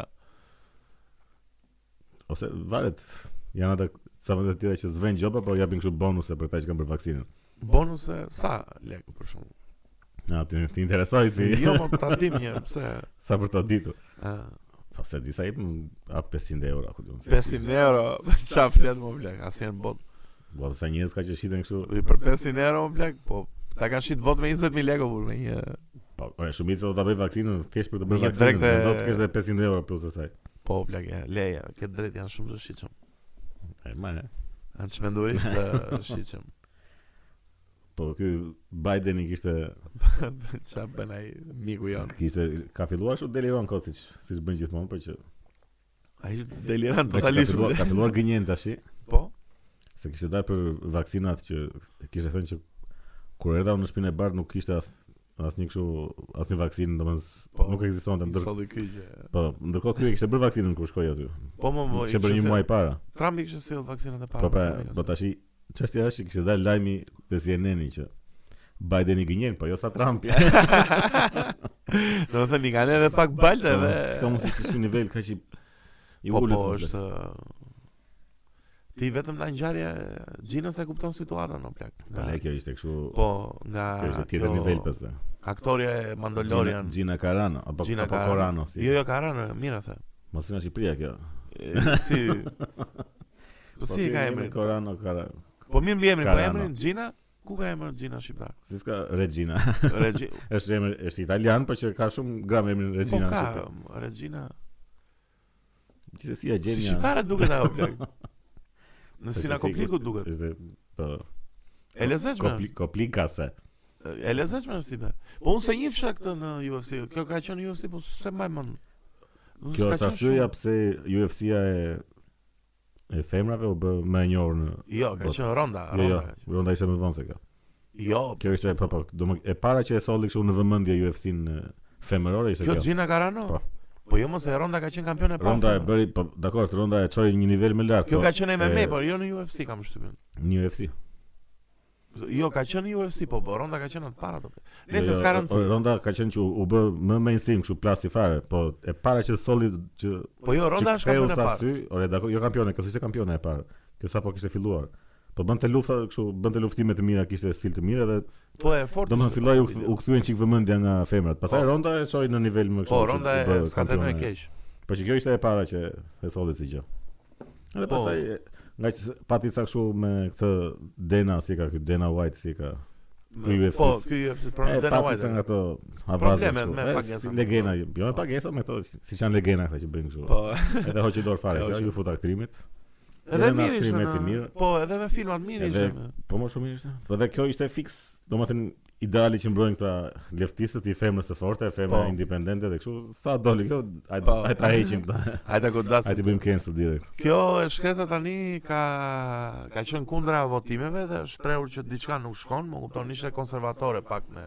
A: Ose varet janë ata sa vende të tjera që s'vën gjoba, po japin kështu bonuse për ata që kanë bërë vaksinën.
B: Bonuse sa lekë për shkakun.
A: Na ti ti interesoj si
B: Jo, po ta dim një herë pse.
A: sa për ta ditur.
B: ë,
A: Po se disa jepin a 500 euro, ku diun. se-
B: 500 euro, qa flet më plak, asnjë në botë.
A: Po sa njerëz ka që shiten kështu.
B: I Për 500 euro më plak, po ta kanë shit votë me 20000 lekë për me një.
A: Po, ore, shumica do ta bëj vaksinën thjesht për të bërë
B: Një
A: vaksinën,
B: drekte-
A: do të kesh edhe 500 euro plus asaj.
B: Po plak, e, leja, këtë drejt janë shumë të shitshëm.
A: E marrë.
B: Janë çmendurisht të shitshëm.
A: Po ky Bideni kishte
B: Qa bën ai miku jon?
A: kishte ka filluar kështu deliron kot siç siç bën gjithmonë, por që
B: Ai është delirant
A: Po që ka
B: totalisht.
A: filluar, ka filluar gënjen tash,
B: Po.
A: se kishte dalë për vaksinat që kishte thënë që kur erdha në shtëpinë e bardh nuk kishte as asnjë kështu asnjë vaksinë, domethënë
B: Po,
A: nuk ekzistonte ndër
B: Solli ky gjë.
A: Po, ndërkohë ky e kishte bërë vaksinën kur shkoi aty.
B: Po më më.
A: Kishte bërë një muaj para.
B: Trump i kishte sjell vaksinën e
A: Po
B: parë.
A: pra,
B: më ka
A: po
B: thënë.
A: tash çështja është që kishte dalë lajmi te CNN-i që Biden i gënjen, po jo sa Trump. Ja.
B: Do të thënë i kanë edhe pak balta
A: Po,
B: dhe.
A: S'ka mundësi që shkoj nivel kaq i i
B: Po
A: ulët.
B: po është Ti vetëm nga ngjarja e Gjinës e kupton situatën o plak.
A: Po
B: Nga-
A: le kjo ishte kështu. Po,
B: Po, nga
A: kjo ishte tjetër
B: kjo
A: nivel pastaj.
B: Aktorja e
A: Gina,
B: Mandalorian.
A: Gina Carano apo
B: Gina
A: apo
B: Carano.
A: Corano si.
B: Jo, jo, Karana, mirë the.
A: Mos thina Shqipëria kjo.
B: E, Si Po si e
A: ky
B: ka
A: emri
B: emrin?
A: Corano Carano.
B: Po mirë mbi emrin, po
A: Carano.
B: emrin Gjina, ku ka emrin Gjina shqiptar?
A: Si s'ka Regina.
B: Regji,
A: është emër është italian, por që ka shumë gram emrin
B: po
A: Regina. në
B: ka
A: Shqipëri.
B: Regina.
A: Gjithsesi e
B: Si
A: gjen një.
B: shqiptare duket ajo plak. Në
A: Është
B: sina
A: e
B: kompliku
A: sigurt.
B: duket.
A: Është po
B: E lezetshme.
A: kompli-
B: është.
A: komplikase.
B: E lezetshme është si be. Po unë se njihsha këtë në UFC. Kjo ka qenë UFC, po se më më.
A: Kjo është arsyeja pse UFC-ja e e femrave u bë më e njohur në
B: Jo, ka
A: Po.
B: qenë Ronda,
A: Jo, jo,
B: Ronda. ka qenë.
A: Ronda ishte më vonë se kjo.
B: Jo.
A: Kjo ishte po po, do më e para që e solli kështu në vëmendje UFC-n femërore ishte
B: Kjo
A: kjo.
B: Gjina
A: Po.
B: Carano. Po jo mos e Ronda ka qenë kampione pa.
A: Ronda e bëri, po dakor, Ronda e çoi një nivel më lart.
B: Kjo
A: po,
B: ka qenë MMA,
A: e-
B: por jo në UFC kam shtypën.
A: Një UFC.
B: Jo, ka qenë në UFC, po po Ronda ka qenë atë para apo.
A: Jo,
B: Nëse
A: jo,
B: s'ka rëndësi.
A: Ronda ka qenë që u, u bë më mainstream kështu plasti fare, po e para që solli që
B: Po jo, Ronda
A: që ktheu
B: është kampione e
A: sa
B: parë.
A: Sy, ore dakor, jo kampione, kjo ishte kampione e parë. Kjo sapo kishte filluar. Po bënte lufta kështu, bënte luftime të mira, kishte stil të mirë dhe
B: Po e fortë.
A: domethënë
B: ishte.
A: filloi u, u kthyen çik vëmendja nga femrat. Pastaj
B: Po.
A: Ronda e çoi në nivel më kështu.
B: Po
A: që
B: Ronda
A: u
B: e
A: bë
B: s'ka të
A: kampione.
B: e keq.
A: Po që kjo ishte e para që e solli si gjë. Edhe
B: Po.
A: pastaj e- nga që s- pati ca kështu me këtë Dena si ka ky Dena White si ka. Ky UFC.
B: Po, ky UFC pra
A: e
B: Dana
A: pati sa nga
B: White.
A: ato avazat.
B: Probleme me pagesa.
A: Si legena, jo me pagesa me to si janë legena këta që bëjnë kështu.
B: Po,
A: Edhe hoqi dorë fare,
B: E,
A: kjo
B: hoqi.
A: ju fut aktrimit.
B: edhe
A: edhe në
B: mirë
A: aktrimet si
B: ishte.
A: mirë.
B: në- Po, edhe me filmat mirë
A: Edhe-
B: ishte.
A: Po më shumë mirë ishte. Po dhe kjo ishte fiks, domethënë ideali që mbrojnë këta leftistët i femrës së fortë, e femra
B: Po.
A: independente dhe kështu. Sa doli kjo, ai
B: Po.
A: ai ta heqim. ta-
B: Hajde
A: Ai ti
B: godasim.
A: bëjmë cancel direkt.
B: Kjo e shkreta tani ka ka qenë kundra votimeve dhe është shprehur që diçka nuk shkon, më kupton, ishte konservatore pak me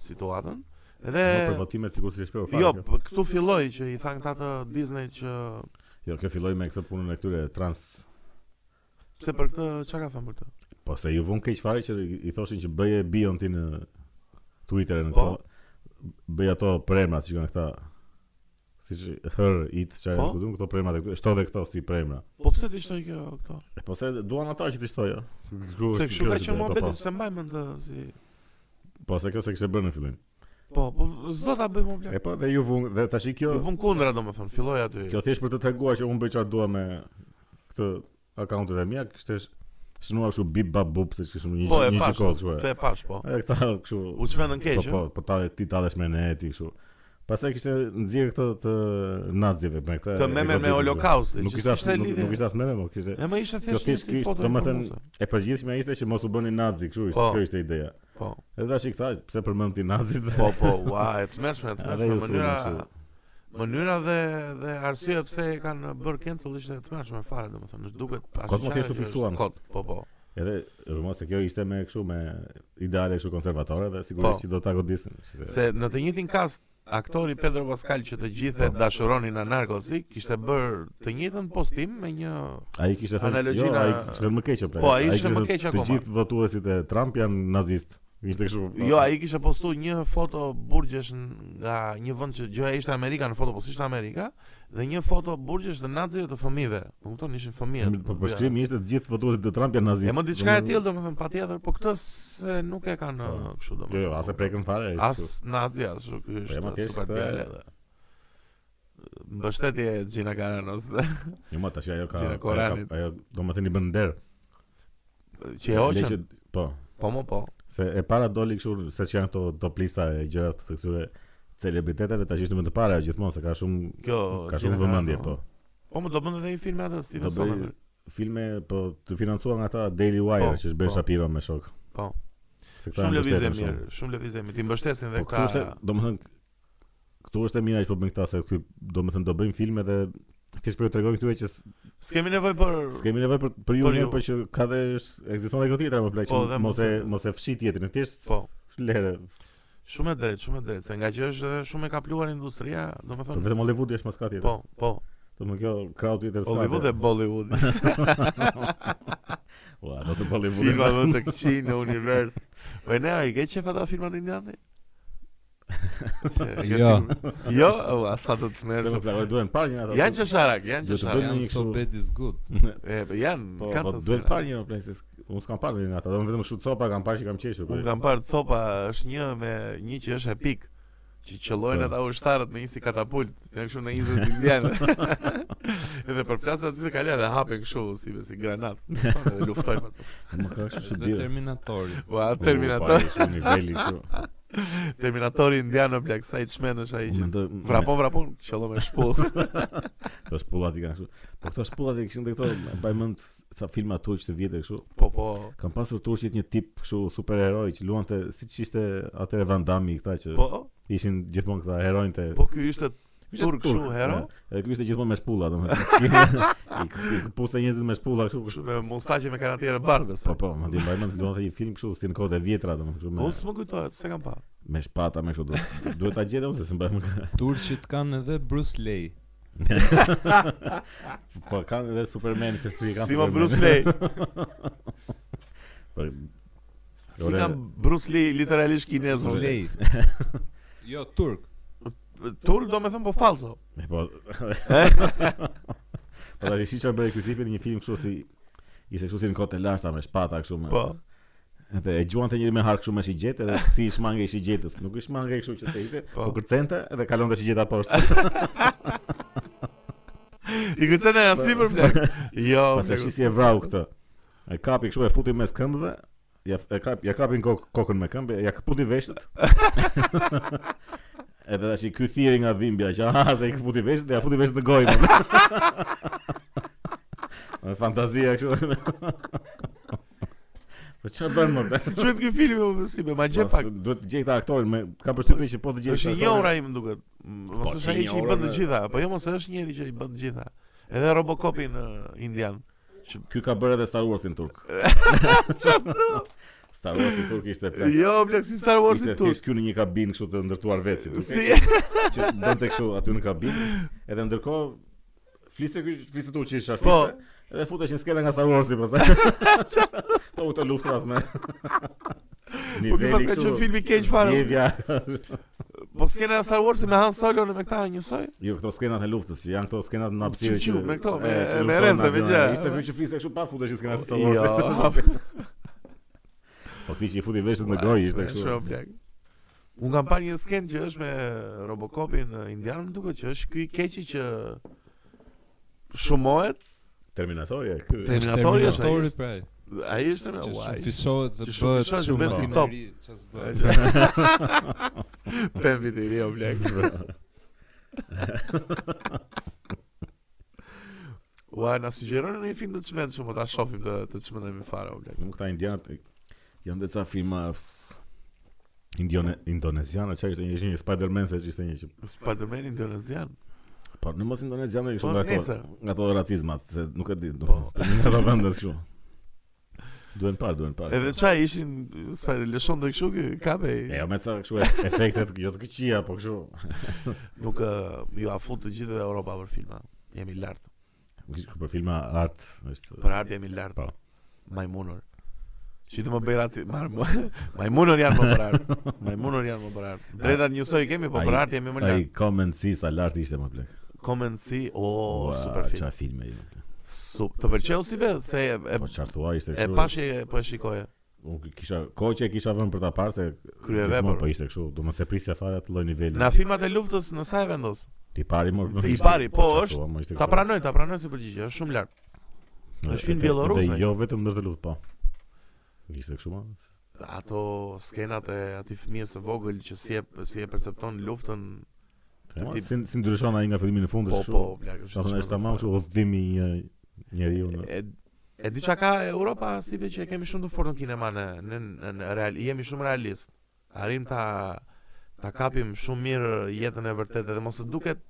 B: situatën.
A: Po për
B: Edhe
A: votimet sigurisht e shprehur fare.
B: jo,
A: kjo.
B: p- këtu filloi që i than këta të Disney që
A: Jo, kjo filloi me këtë punën e këtyre trans
B: Se për këtë çka ka thënë për këtë?
A: Po se ju vun keq fare që i- i thoshin që bëje bion ti në Twitter në
B: Po.
A: këto. Bëj ato premrat që kanë këta. Siç her it çfarë
B: Po.
A: po? këtu këto premrat e këtu. Shto dhe këto si premra.
B: Po pse ti shtoj kjo këto?
A: E, Po se duan ata që ti shtojë.
B: Se kështu ka qenë
A: Po,
B: muhabeti
A: po.
B: se mbaj mend të si.
A: Po se kjo se kishte bërë në fillim.
B: Po, po s'do ta bëj më
A: E
B: blaq.
A: po dhe ju vun dhe tash i
B: Ju
A: kjo
B: vun kundra domethënë, filloi aty.
A: kjo thjesht për të treguar që unë bëj çfarë dua me këtë akauntet e mia, kishte sh- shënuar kështu bip bap bup se kishte një
B: Po e
A: një
B: pash.
A: çikot kështu.
B: Po
A: e.
B: e pash po.
A: E këta kështu.
B: U çmendën keq.
A: Po
B: ë?
A: po, po ta ti ta dash me ne ti kështu. Pastaj kishte nxjerr këtë të nazive me këtë.
B: Të meme me holokaust.
A: Nuk ishte as nuk nuk ishte as meme, po kishte
B: E më ishte
A: Kjo
B: thjesht
A: thjesht
B: një
A: kishte,
B: foto.
A: domethënë
B: informuese.
A: e përgjithshme ishte që mos u bëni nazi, kështu ishte,
B: Po.
A: kjo ishte ideja.
B: po.
A: Edhe tash i këta pse përmend ti nazit?
B: Po po, ua, e tmerrshme, e
A: Edhe
B: tmerrshme
A: ju sulmon
B: mënyra
A: kështu.
B: mënyra dhe dhe arsyeja pse e kanë bërë cancel ishte e tmerrshme fare, domethënë, është duke ashtu
A: Kot mund t'jesh
B: qarë
A: u
B: që
A: fiksuan.
B: është Kot, po po.
A: Edhe e mos se kjo ishte me kështu me ideale kështu konservatore dhe sigurisht
B: Po.
A: që do ta godisin. Ishte-
B: Se në të njëjtin kast aktori Pedro Pascal që të gjithë e dashuronin anarkosi, kishte bërë të njëjtën postim me një
A: Ai kishte thënë,
B: Analogjina-
A: jo, ai kishte thënë më keq apo.
B: Po, ai ishte më keq
A: Të
B: akoma.
A: gjithë votuesit e Trump janë nazist. Ishte kështu. po.
B: Jo, ai kishte postu një foto burgjesh nga një vend që gjëja ishte Amerika në foto, po s'ishte Amerika, dhe një foto burgjesh të nazive të fëmijëve. Më kupton, ishin fëmijë.
A: Po përshkrimi ishte të gjithë votuesit e Trump janë nazist.
B: E më diçka e
A: Domethënë-
B: tillë domethënë patjetër, po këtë se nuk e kanë
A: Po.
B: ë, kështu
A: Jo,
B: domethënë.
A: jo, as e prekën fare. ishte
B: As
A: kështu.
B: nazi, as nuk
A: Po, e, ma
B: është
A: thjesht
B: super
A: këtë-
B: djalë edhe. Mbështetje e Gjina Garanos
A: Jo, ma tash ajo ka
B: Cina
A: ajo ka-
B: Koranit.
A: ajo domethënë i bën der.
B: që e
A: Le
B: hoqën.
A: që- Po.
B: Po mo po.
A: Se e para doli kështu se që janë këto top lista e gjërat të këtyre celebriteteve tash ishte më të para gjithmonë se ka shumë
B: Kjo
A: ka
B: Gina
A: shumë vëmendje,
B: Carano.
A: po.
B: Po më do bënte edhe një film atë
A: Do
B: Steven
A: bëj-
B: Soderbergh.
A: Filme po të financuar nga ata Daily Wire
B: Po,
A: që është Ben
B: po.
A: Shapiro me shok.
B: Po.
A: Se këta janë
B: Shumë lëvizje
A: mbështetën shumë.
B: mirë, shumë lëvizje mirë. Ti mbështesin
A: Po
B: dhe
A: këtu është,
B: ka
A: domethënë këtu është e mira që po bën këta se ky domethënë do bëjmë filme dhe thjesht po për t'u treguar këtyre që s-
B: S'kemi nevojë për
A: s'kemi nevojë për për ju
B: Për
A: mirë,
B: ju.
A: po që ka dhe s- ekziston edhe kjo tjetra më plaq.
B: Po,
A: që
B: dhe
A: Mos e
B: mos e-
A: mos e fshi tjetrin, thjesht
B: po.
A: lere.
B: Shumë e drejtë, shumë e drejtë, se nga që është edhe shumë e kapluar industria,
A: Po
B: domethënë.
A: vetëm Hollywoodi është mos ka tjetër.
B: Po, po.
A: Domethënë kjo crowd tjetër s'ka.
B: Hollywood
A: tjetër.
B: dhe Bollywood.
A: Ua, do të Hollywoodi.
B: Filma më të këqij në univers. Po ne ai ke çfarë ata filmat indiane? Se-
C: Jo.
B: Jo, ua, sa do të
A: Se më
B: merresh.
A: plakoj duhen parë një ata.
B: Janë qesharak, janë
A: Do të
B: qesharak.
A: bëjmë
C: Janë
A: një
C: so
A: kështu-
C: bad is good.
B: E, po, janë,
A: Po,
B: kanë
A: po
B: të
A: duhet
B: sera.
A: parë një plakë. Unë s'kam parë një ata, domethënë vetëm kështu copa kam parë që kam qeshur. po.
B: Unë kam parë copa, është një me një që është epik që qëllojnë
A: Po.
B: ata ushtarët me një si katapult, janë kështu në 20 indianë. edhe për plasat aty të kalojnë dhe hapen kështu si si granat. Edhe luftojnë ato.
A: Më ka kështu
C: Është
A: që
C: dhe
A: di.
C: Terminatori.
B: Ua, Terminator,
A: niveli kështu.
B: Terminatori indiano blaq sa i çmendesh ai që
A: Mendoj
B: Vrapon, vrapon, qëllon me shpull.
A: Këto shpullat i kanë kështu. Po këto shpullat i kishin dhe këto mbaj mend sa filma turq të vjetër kështu.
B: po, po.
A: Kam pasur turqit një tip kështu superheroj që luante siç ishte atëre Van Damme këta që
B: Po,
A: ishin gjithmonë këta heronjtë. të
B: po ky ishte
A: Ishte
B: turk kështu hero,
A: e, Edhe ky ishte gjithmonë me shpulla domethënë. I kuptoj njerëzit me shpulla kështu.
B: kështu me mustaqe me kanatiere bardhë.
A: Po po, madje mbaj mend luante një film kështu si në kohët e vjetra domethënë kështu
B: Po
A: me
B: s'më kujtohet, se kam pa.
A: me shpata me kështu. du- Duhet ta gjetem se s'mbaj më.
C: Turqit kanë edhe Bruce Lee.
A: Po kanë edhe Superman se si kanë.
B: Si ma
A: Superman.
B: Bruce Lee.
A: Po,
B: Si nga Bruce Lee literalisht kinez.
C: Bruce Lee. Jo, turk.
B: Turk do me thëmë po falso.
A: E po. po tash ishi çfarë bëri ky tipi në një film kështu si ishte kështu si në kohë të lashta me shpata kështu me.
B: Po.
A: Edhe e gjuante njëri me hark kështu me shigjet edhe si i shmange i shigjetës. Nuk i shmange kështu që të ishte,
B: Po.
A: po kërcente edhe kalonte shigjeta poshtë.
B: I këtëse në rasi për flek. Jo,
A: Pastaj
B: flek.
A: Po. shi si e vrau këtë. E kapi kështu e futi mes këmbëve. Ja e kap, ja kapin kok, kokën me këmbë, ja kputi veshët. edhe tash i ky thiri nga dhimbja që aha, se i kputi veshët, ja futi veshët në gojë. Me fantazia kështu. Po çfarë bën më? bla?
B: Që në këj filmi o, si me jo, ma gje
A: Po,
B: pak.
A: se Duhet të gjej këtë aktorin, me ka përshtypjen që po të gjej.
B: është
A: këtë
B: një
A: aktorin.
B: ora i më duket. Mos
A: Po,
B: është ai
A: që
B: që i
A: një
B: bën
A: orë
B: të
A: me-
B: gjitha, po jo mos është njëri që i bën të gjitha. Edhe Robocopin ë, indian.
A: Ky ka bërë edhe Star Warsin turk. Star Warsin turk ishte plan.
B: Jo, blek si Star Wars i
A: Ishte
B: turk.
A: thjesht ky në një kabinë kështu të ndërtuar vetë si duket,
B: Si
A: që donte kështu aty në kabinë. Edhe ndërkohë Fliste ky, fliste tu që isha
B: Po.
A: fliste. Edhe futesh një skele nga Star Wars pastaj. Po u të luftrat me.
B: Po ke pas ka
A: kështu,
B: qenë film i keq fare.
A: Ndjevja.
B: Po skena e Star Wars me Han Solo në me këta njësoj.
A: Jo, këto skenat e luftës, që janë këto skenat në hapësirë
B: Qiu, qiu, me këto,
A: e, që
B: me- me
A: luftojnë
B: rrezë,
A: në
B: me
A: avion.
B: gjë.
A: Ishte më që fliste kështu pa futesh në skenat e Star
B: Jo.
A: Wars. Po ti që i futi veshët në gojë, ishte
B: Shumë
A: kështu.
B: plak. Unë kam parë një sken që është me Robocopin eh, indian, më duket që është ky i keqi që shumohet,
A: Terminatori, e, ky.
B: Termin- Terminatori është
C: Terminatori
B: ai.
C: pra.
B: ai është më
C: Që shumë
B: uaj.
C: fishohet dhe
B: Që shumë
C: bëhet
B: fishohet,
C: shumë
B: bëhet
C: më
B: si top.
C: i ri, që s'bëhet.
B: Pem vit i ri o blek. Ua, na sugjeron në një film të çmendshëm, po ta shohim të të çmendemi fare o blek.
A: Nuk këta indianët e, janë disa filma f- indione indoneziana, çka ishte një ishte një Spider-Man se që ishte një që
B: Spider-Man indonezian.
A: po në mos indonezianë
B: Po,
A: kështu nga ato
B: nesër.
A: nga ato racizmat, se nuk e di, do.
B: Po.
A: Nga ato vende kështu. Duhen parë, duhen parë.
B: Edhe çaj ishin Spider lëshon do kështu ky kape.
A: E jo me ca kështu e- efektet jo të këqija, po kështu.
B: Nuk ë, ju afut të gjithë Europa për filma. Jemi lart.
A: Kështu për filma art është.
B: Për ardhje jemi lart.
A: Po.
B: Majmunor. Shi të më bëj raci mar- mo- Majmunor janë më parar Majmunor janë më parar Drejtat njësoj kemi Po
A: Ai-
B: për art jemi më lart
A: Ai comment si sa lart ishte më plek.
B: Comment si O,
A: Ua,
B: Po, super film
A: Qa filme jo.
B: Sup, të pëlqeu si be se e, e,
A: Po çfarë thua ishte
B: e
A: kështu.
B: pashi e po e shikoje.
A: Unë kisha kohë që e kisha vënë për ta parë se
B: Kryevepër.
A: gjithmonë Po ishte kështu, domos e prisja fare atë lloj niveli.
B: Në filmat e luftës në sa e vendos?
A: Ti pari më.
B: Dhe i pari, po,
A: Çfarë
B: është-
A: thua, mo, ishte
B: Ta
A: kështu.
B: pranoj, ta pranoj si përgjigje, është shumë lart. është film
A: Dhe-
B: bielorusa,
A: Dhe jo vetëm ndër të lutë, po. Ishte kështu po. më.
B: Ato skenat e atij fëmijës së vogël që si e si e percepton luftën,
A: Po,
B: ti-
A: Si si ndryshon ai nga fillimi në fund
B: po
A: është
B: po,
A: kështu.
B: plak,
A: Do të thonë është tamam kështu udhëtimi i një njeriu në.
B: E, e di çka ka Europa si be që e kemi shumë të fortë në kinema në në, në, në real, jemi shumë realist. Arrim ta ta kapim shumë mirë jetën e vërtetë dhe mos të duket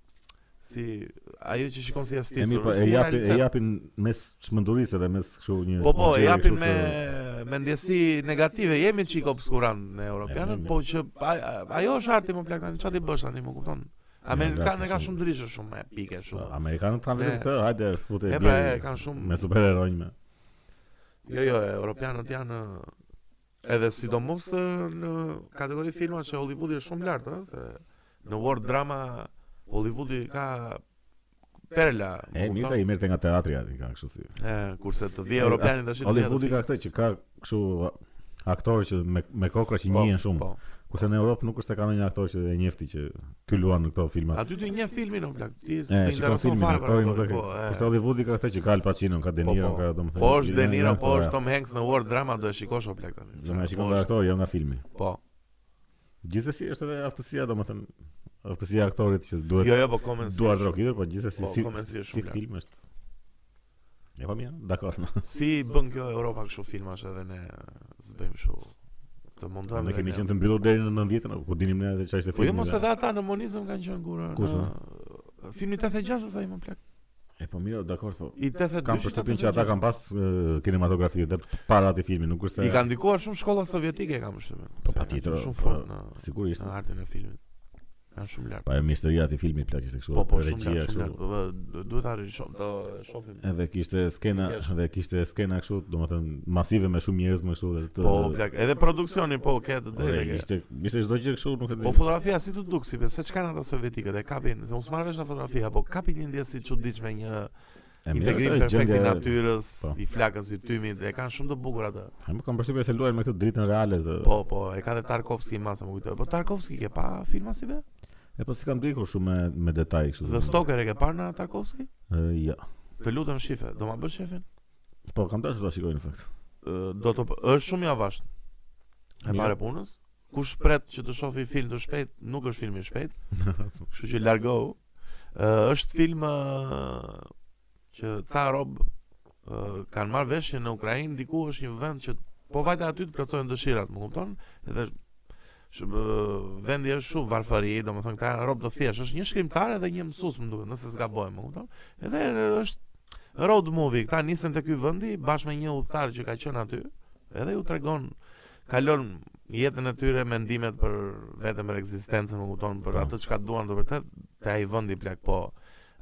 B: si ajo që shikon si
A: E mi
B: astisur.
A: po e
B: si
A: japin e
B: realitet.
A: japin mes çmendurisë edhe mes kështu një
B: Po po,
A: një
B: e
A: gjëje
B: japin
A: kështu
B: me me ndjesi negative, jemi çik obskurant në
A: E,
B: europianët,
A: mirë,
B: po që a- a- ajo është arti më plak tani, çfarë ti bësh tani, më kupton? Amerikanë
A: gati,
B: ka
A: shumë. Po,
B: shumë ndryshë, shumë e pike,
A: që-
B: shumë.
A: Amerikanët kanë vetëm
B: E.
A: këtë, hajde futë
B: E pra, e kanë shumë
A: me superheroj me.
B: Jo, jo, e, europianët janë ë, edhe sidomos ë, në kategori filma që Hollywoodi është shumë lart, ëh, se në war drama Hollywoodi ka perla. më
A: E mirë
B: kupton?
A: se i merrte nga teatri aty kanë kështu si.
B: E, kurse të vijë europianit tash
A: Hollywoodi ka këtë që ka kështu aktorë që me me kokra që njihen shumë.
B: Po.
A: Kurse në Europë nuk është se ka ndonjë aktor që e njefti që ky luan në këto filma.
B: po. Aty ty një filmin o plak, ti
A: E,
B: s'të
A: shikon
B: intereson
A: filmin,
B: fare për
A: aktori nuk e
B: aktorin,
A: ka.
B: po. e.
A: Kurse Hollywoodi ka këtë që ka Al Pacino, ka De
B: Po,
A: Niro,
B: po.
A: ka domethënë.
B: Po është De Niro, po është
A: Tom.
B: Tom Hanks në war drama do e shikosh o plak tani.
A: Do më shikon
B: Po,
A: nga aktori, jo nga filmi.
B: Po.
A: Gjithsesi është edhe aftësia domethënë aftësia e aktorit që duhet
B: Jo, jo, po komen si.
A: duar rokidër, po gjithsesi
B: Po,
A: si
B: komensi është
A: si
B: shumë lart.
A: film është. E po mirë, dakor. no.
B: Si bën kjo Europa kështu filmash edhe ne s'bëjmë kështu. Të mundohem.
A: Ne
B: edhe
A: kemi
B: ne.
A: qenë të mbyllur deri në 90-ën, apo ku dinim ne se çfarë ishte
B: Po
A: filmi.
B: jo mos
A: dhe-
B: edhe ata në monizëm kanë qenë gurë.
A: Kush,
B: në- Filmi 86 ose ai më plak.
A: E po mirë, dakor, po.
B: I 82.
A: Kam përshtypjen që ata
B: 86.
A: kanë pas e, kinematografi dhe para atë filmi, nuk është
B: I
A: se
B: kanë ndikuar shumë shkolla sovjetike kam përshtypjen.
A: Po,
B: Se
A: patjetër,
B: janë Shumë
A: po,
B: fort në
A: sigurisht.
B: në artin e filmit. Janë shumë lart.
A: Pa e mjeshtëria e atij filmi plak ishte kështu.
B: Po po shumë
A: regjia
B: lart, shumë
A: kështu.
B: lart. Po, po, Duhet ta rishom, do shohim.
A: Edhe kishte skena,
B: Yes.
A: edhe kishte skena kështu, domethënë masive me shumë njerëz më kështu dhe të
B: Po plak, edhe produksioni po ke të
A: Ore,
B: drejtë. ke.
A: ishte ishte çdo gjë kështu, nuk e di.
B: Po fotografia si të duk si se ç'kan ata sovetikët e kapin, se unë marr vesh në fotografia, po kapin një ndjesë si çuditshme një
A: E mirë,
B: integrim
A: është
B: perfekt i
A: gjendja-
B: natyrës,
A: po.
B: i flakës i tymit, e kanë shumë të bukur atë.
A: E më kam përshtypjen se luajnë me këtë dritën reale të.
B: Po, po, e ka dhe Tarkovski masa më kujtoj. Po Tarkovski ke pa filma si be?
A: E po si kam ndjekur shumë me me detaj kështu.
B: The Stalker e ke parë në Tarkovski?
A: Ë, Jo.
B: Të lutem shife, do ma bësh shefin?
A: Po kam dashur ta shikoj në fakt.
B: Ë, Do të p- është shumë i avasht. E
A: Mirë.
B: pare punës. Kush pret që të shohë film të shpejt, nuk është film i shpejt. Kështu që largohu. Ë, është film ë, që ca rob ë, kanë marrë veshin në Ukrainë, diku është një vend që po vajta aty të plotësojnë dëshirat, më kupton? Edhe sh- ë, vendi është shumë varfëri, domethënë këta janë rob të thjeshtë, është një shkrimtar edhe një mësues, më duket, nëse zgaboj, më kupton? Edhe është road movie, këta nisen te ky vendi bashkë me një udhëtar që ka qenë aty, edhe ju tregon kalon jetën e tyre mendimet për vetëm për ekzistencën, më kupton, për
A: Po.
B: atë çka duan të vërtet, te ai vendi plak po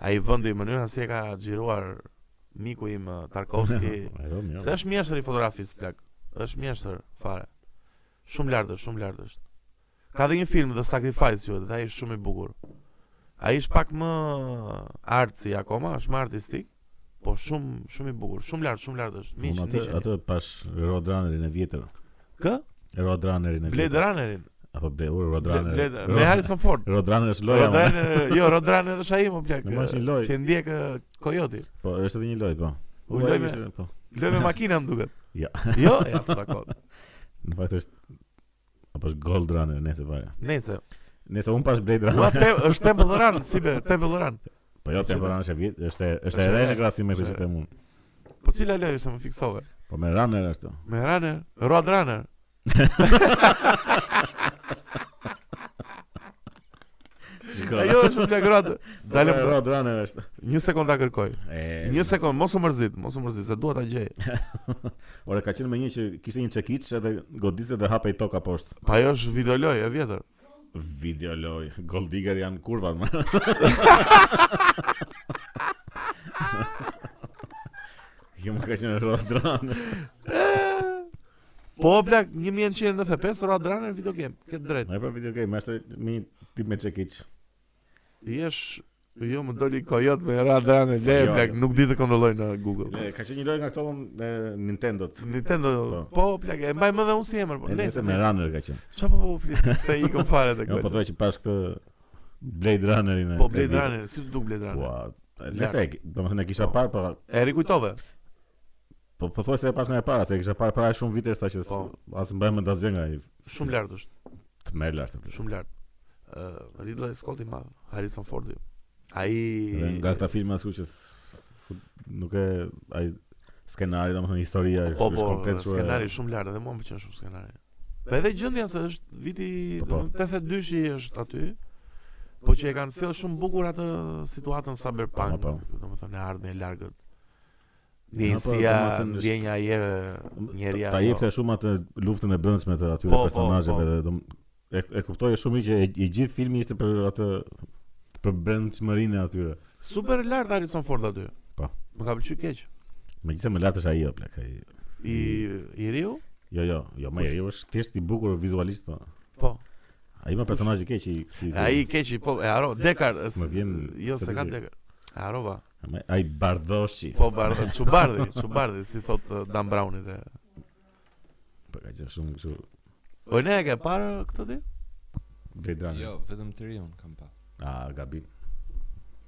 B: ai vendi mënyra si e ka xhiruar miku im eh, Tarkovski.
A: Ajo
B: Se
A: mirë.
B: është mjeshtër i fotografisë plak. Është mjeshtër fare. Shumë lart është, shumë lart është. Ka dhe një film The Sacrifice quhet, dhe ai është shumë i bukur. Ai është pak më artsi akoma, është më artistik, po shumë shumë i bukur, shumë lart, shumë lart është. Miq,
A: Unë atë
B: miq.
A: atë pash Road Runnerin e vjetër.
B: Kë?
A: Road Runnerin e
B: Blade
A: vjetër.
B: Runnerin.
A: Apo Blade Runner, Road
B: Blade
A: Runner.
B: Blade-
A: Road-
B: me Harrison Ford.
A: Road Runner është loja.
B: Road
A: mo.
B: Runner, jo, Road Runner është ai më plak.
A: Në mosh një loj.
B: Që ndjek eh, Coyote.
A: Po, është edhe një loj, po.
B: U loj me-
A: ishte- po.
B: Loj me makina më duket.
A: Ja.
B: Jo, ja, fuck.
A: Në fakt është apo është Gold Runner nëse vaje.
B: Nëse,
A: Nëse un pash Blade
B: ua
A: Runner.
B: te, është Temple Run, si be, Temple Run.
A: Po jo, Temple Runner është e vjet, është e- është e re në krahasim me këtë që them unë.
B: Po cila lojë se më fiksove?
A: Po me Runner ashtu.
B: Me Runner, Road Runner.
A: Shiko.
B: Ajo është më plak Road. Dalem.
A: Dalem Road Po, Runner është.
B: Një sekond ta kërkoj.
A: E,
B: Një sekond, mos u mërzit, mos u mërzit, se dua ta gjej.
A: Ore ka qenë me një që kishte një çekiç edhe godiste dhe hapej toka poshtë.
B: Pa ajo është videoloj e vjetër.
A: Video loj, Gold Digger janë kurva. ma. Jo më ka qenë Road Runner.
B: Po plak 1995 Road Runner video game. Ke drejt.
A: Ai pra video game, është me një tip me çekiç.
B: Jesh Jo më doli kojot me Road Runner, le
A: Jo,
B: plak,
A: jo.
B: nuk di të kontrolloj në Google.
A: Le, Ka qenë një loj nga këto e, Nintendo-t.
B: Nintendo, po plak, e mbaj më dhe unë si emër, po.
A: E
B: Nëse
A: nëse me Runner ka qenë.
B: Çfarë po po flis? Se i kom fare
A: Jo,
B: të
A: po
B: kojot.
A: thua që pas këtë Blade Runnerin. e-
B: Po
A: e Po.
B: Blade po.
A: vitit.
B: Runner, si të duk Blade Runner?
A: Ua, nëse e- domethënë e kisha parë, po
B: E rikujtove.
A: po po thuaj se e pash nga e para, se e kisha parë para shumë vitesh tash që s-
B: Po.
A: as mbaj mend asgjë nga ai.
B: Shumë lart është.
A: Tmerr lashtë.
B: Shumë lart. Ë Ridley Scott i madh, Harrison Fordi.
A: Dhe
B: Ai
A: nga këta filma ashtu që s- nuk e ai skenari domethënë historia është
B: po
A: është
B: po
A: komplet shumë e-
B: skenari shumë lart dhe mua më pëlqen shumë skenari. Po edhe gjendja se është viti
A: Po, po.
B: domethënë 82-shi është aty. Po që e kanë sjellë shumë bukur atë situatën cyberpunk,
A: Po, po.
B: domethënë e ardhmja e largët.
A: Ja, po,
B: Ndjenja,
A: domethënë është-
B: ndjenja e po. njerëja.
A: ta jepte shumë atë luftën e brendshme të atyre
B: Po, po,
A: personazheve
B: po.
A: dhe dom e, e kuptoje shumë mirë që e, i gjithë filmi ishte për atë për brendshmërinë e atyre.
B: super lart Harrison Ford aty.
A: Po.
B: Më ka pëlqyer keq.
A: Megjithëse më lartë është ajo plak. Ai
B: I i riu?
A: jo jo, jo më ajo është thjesht i bukur vizualisht po.
B: Po.
A: Ai më personazh i keq i i-
B: Ai i keqi po e haro Dekar.
A: Më vjen-
B: jo se
A: se
B: ka
A: di.
B: Dekar. E harova.
A: Ama- ai bardhoshi.
B: Po bardhi, çubardhi, çubardhi si thot uh, Dan Browni te.
A: Po ka qenë shumë kështu
B: O ne e ke parë këtë ditë?
A: Blade Runner.
C: Jo, vetëm të ri unë kam pa.
A: A gabim.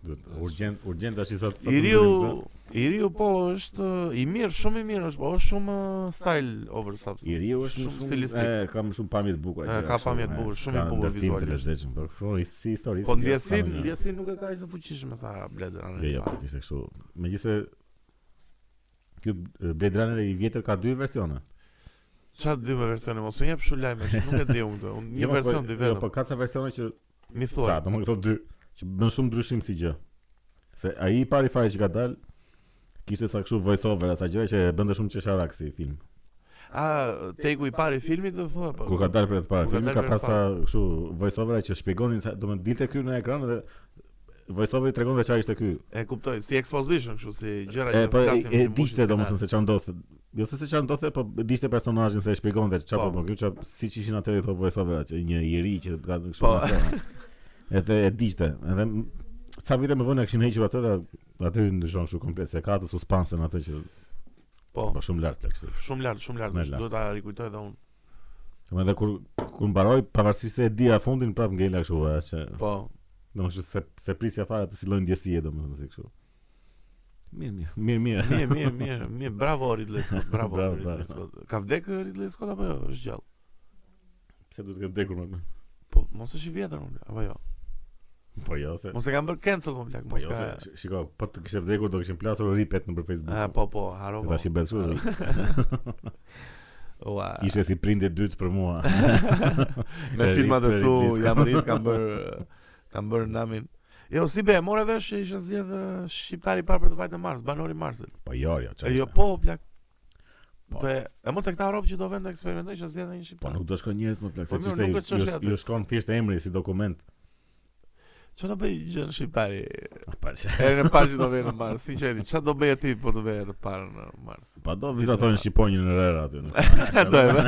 A: Duhet urgjent urgjent tash i sot.
B: I riu, i riu po është uh, i mirë, shumë i mirë është, po është shumë uh, style over substance.
A: I riu është shumë
B: stilistik.
A: E, kam shumë pamje të bukura.
B: E,
A: që
B: ka
A: kështu,
B: pamje të
A: e,
B: bukura, shumë i
A: ka
B: bukur
A: ndërtim të
B: vizualisht.
A: lezetshëm, por shumë i- si histori.
B: Po
A: si-
B: ndjesin,
A: s'kam ndjenjë.
B: ndjesin nuk e ka as të fuqishme sa Blade Runner.
A: Jo, jo, po kishte kështu. Megjithëse ky e, Blade Runner i vjetër ka dy versione.
B: Çfarë dy me versione mos më jep shu lajme, shu nuk e di unë këtë. Unë një
A: Jo, po-
B: version dy
A: Jo, po
B: vetëm.
A: ka ca versione që
B: Mi thuaj.
A: Sa, do më këto dy që bën shumë ndryshim si gjë. Se ai i pari fare që ka dal kishte sa kështu voice over, sa gjëra që e bënte shumë çesharak si film.
B: A, teku i parë i filmit do thua po.
A: Kur ka dalë për të parë
B: Kur ka
A: filmi
B: dalë
A: ka
B: për të
A: pas sa kështu voice overa që shpjegonin sa do të dilte ky në ekran dhe voice overi tregonte çfarë ishte ky.
B: E kuptoj, si exposition kështu si gjëra
A: E
B: Pra që
A: po e, e
B: flasin për
A: dishte
B: mushën
A: domethënë se çfarë ndodhte. Jo se se çfarë ndodhte, po e dishte personazhin se e shpjegonte çfarë
B: Po.
A: po bën ky, çfarë siç ishin atëherë këto voice overa që një i ri që ka kështu.
B: Po.
A: nga zona. Edhe e dishte, edhe m- sa vite më vonë e kishin hequr atë dhe aty ndryshon kështu komplet se ka atë suspansen atë që
B: atje. Po,
A: po shumë lart plak. se-
B: shumë lart, shumë lart.
A: Shumë
B: është,
A: lart.
B: Duhet ta rikujtoj edhe unë.
A: Domethënë edhe kur kur mbaroi pavarësisht se e dira fundin prap ngela kështu e, që
B: Po,
A: Domethënë se se prisja fare të silloj ndjesie domethënë si kështu. Mirë, mirë, mirë, mirë.
B: mirë, mirë, mirë, mirë, bravo Ridley Scott, bravo
A: Bravo,
B: Ridley
A: bravo.
B: Scott. Ka vdekë Ridley Scott apo jo? Është gjallë.
A: Pse duhet të vdekur më?
B: Po, mos është i vjetër unë, apo jo?
A: Po jo se.
B: Mos e kanë bërë cancel më plak,
A: Po
B: mos
A: jo se.
B: ka.
A: shi- Shiko, po të kishte vdekur do kishim plasur ripet nëpër Facebook.
B: Ah, po, po, harova.
A: Tash i bëhet kështu.
B: Ua.
A: Ishte si prindje dytë për mua.
B: Me
A: E
B: filmat
A: rit-
B: e
A: e
B: tu
A: rit-
B: jam rrit kam bër kam bër namin. Jo, si be, more vesh që isha zgjedh eh, shqiptari i parë për të vajtë në Mars, banori i Marsit.
A: Po jo, jo,
B: E,
A: çfarë?
B: Jo,
A: ishte?
B: po, plak.
A: Po.
B: Po, e- e mund të këta robë që do vend të eksperimentoj që zjedhe një
A: Po
B: shqiptar.
A: nuk do shkon njerëz më plak,
B: Po
A: se
B: mirë,
A: ç'ishte.
B: nuk është çështja
A: ju-
B: aty.
A: Ju shkon thjesht emri si dokument.
B: Që do bëj gjë në shqiptari?
A: Ah, paqe.
B: Erën e parë që do vjen në Mars, sinqerisht. Çfarë do bëje ti po të vjen të parë në Mars?
A: Pa do vizatojnë shqiponjën në rrë aty. në-
B: Do e bë.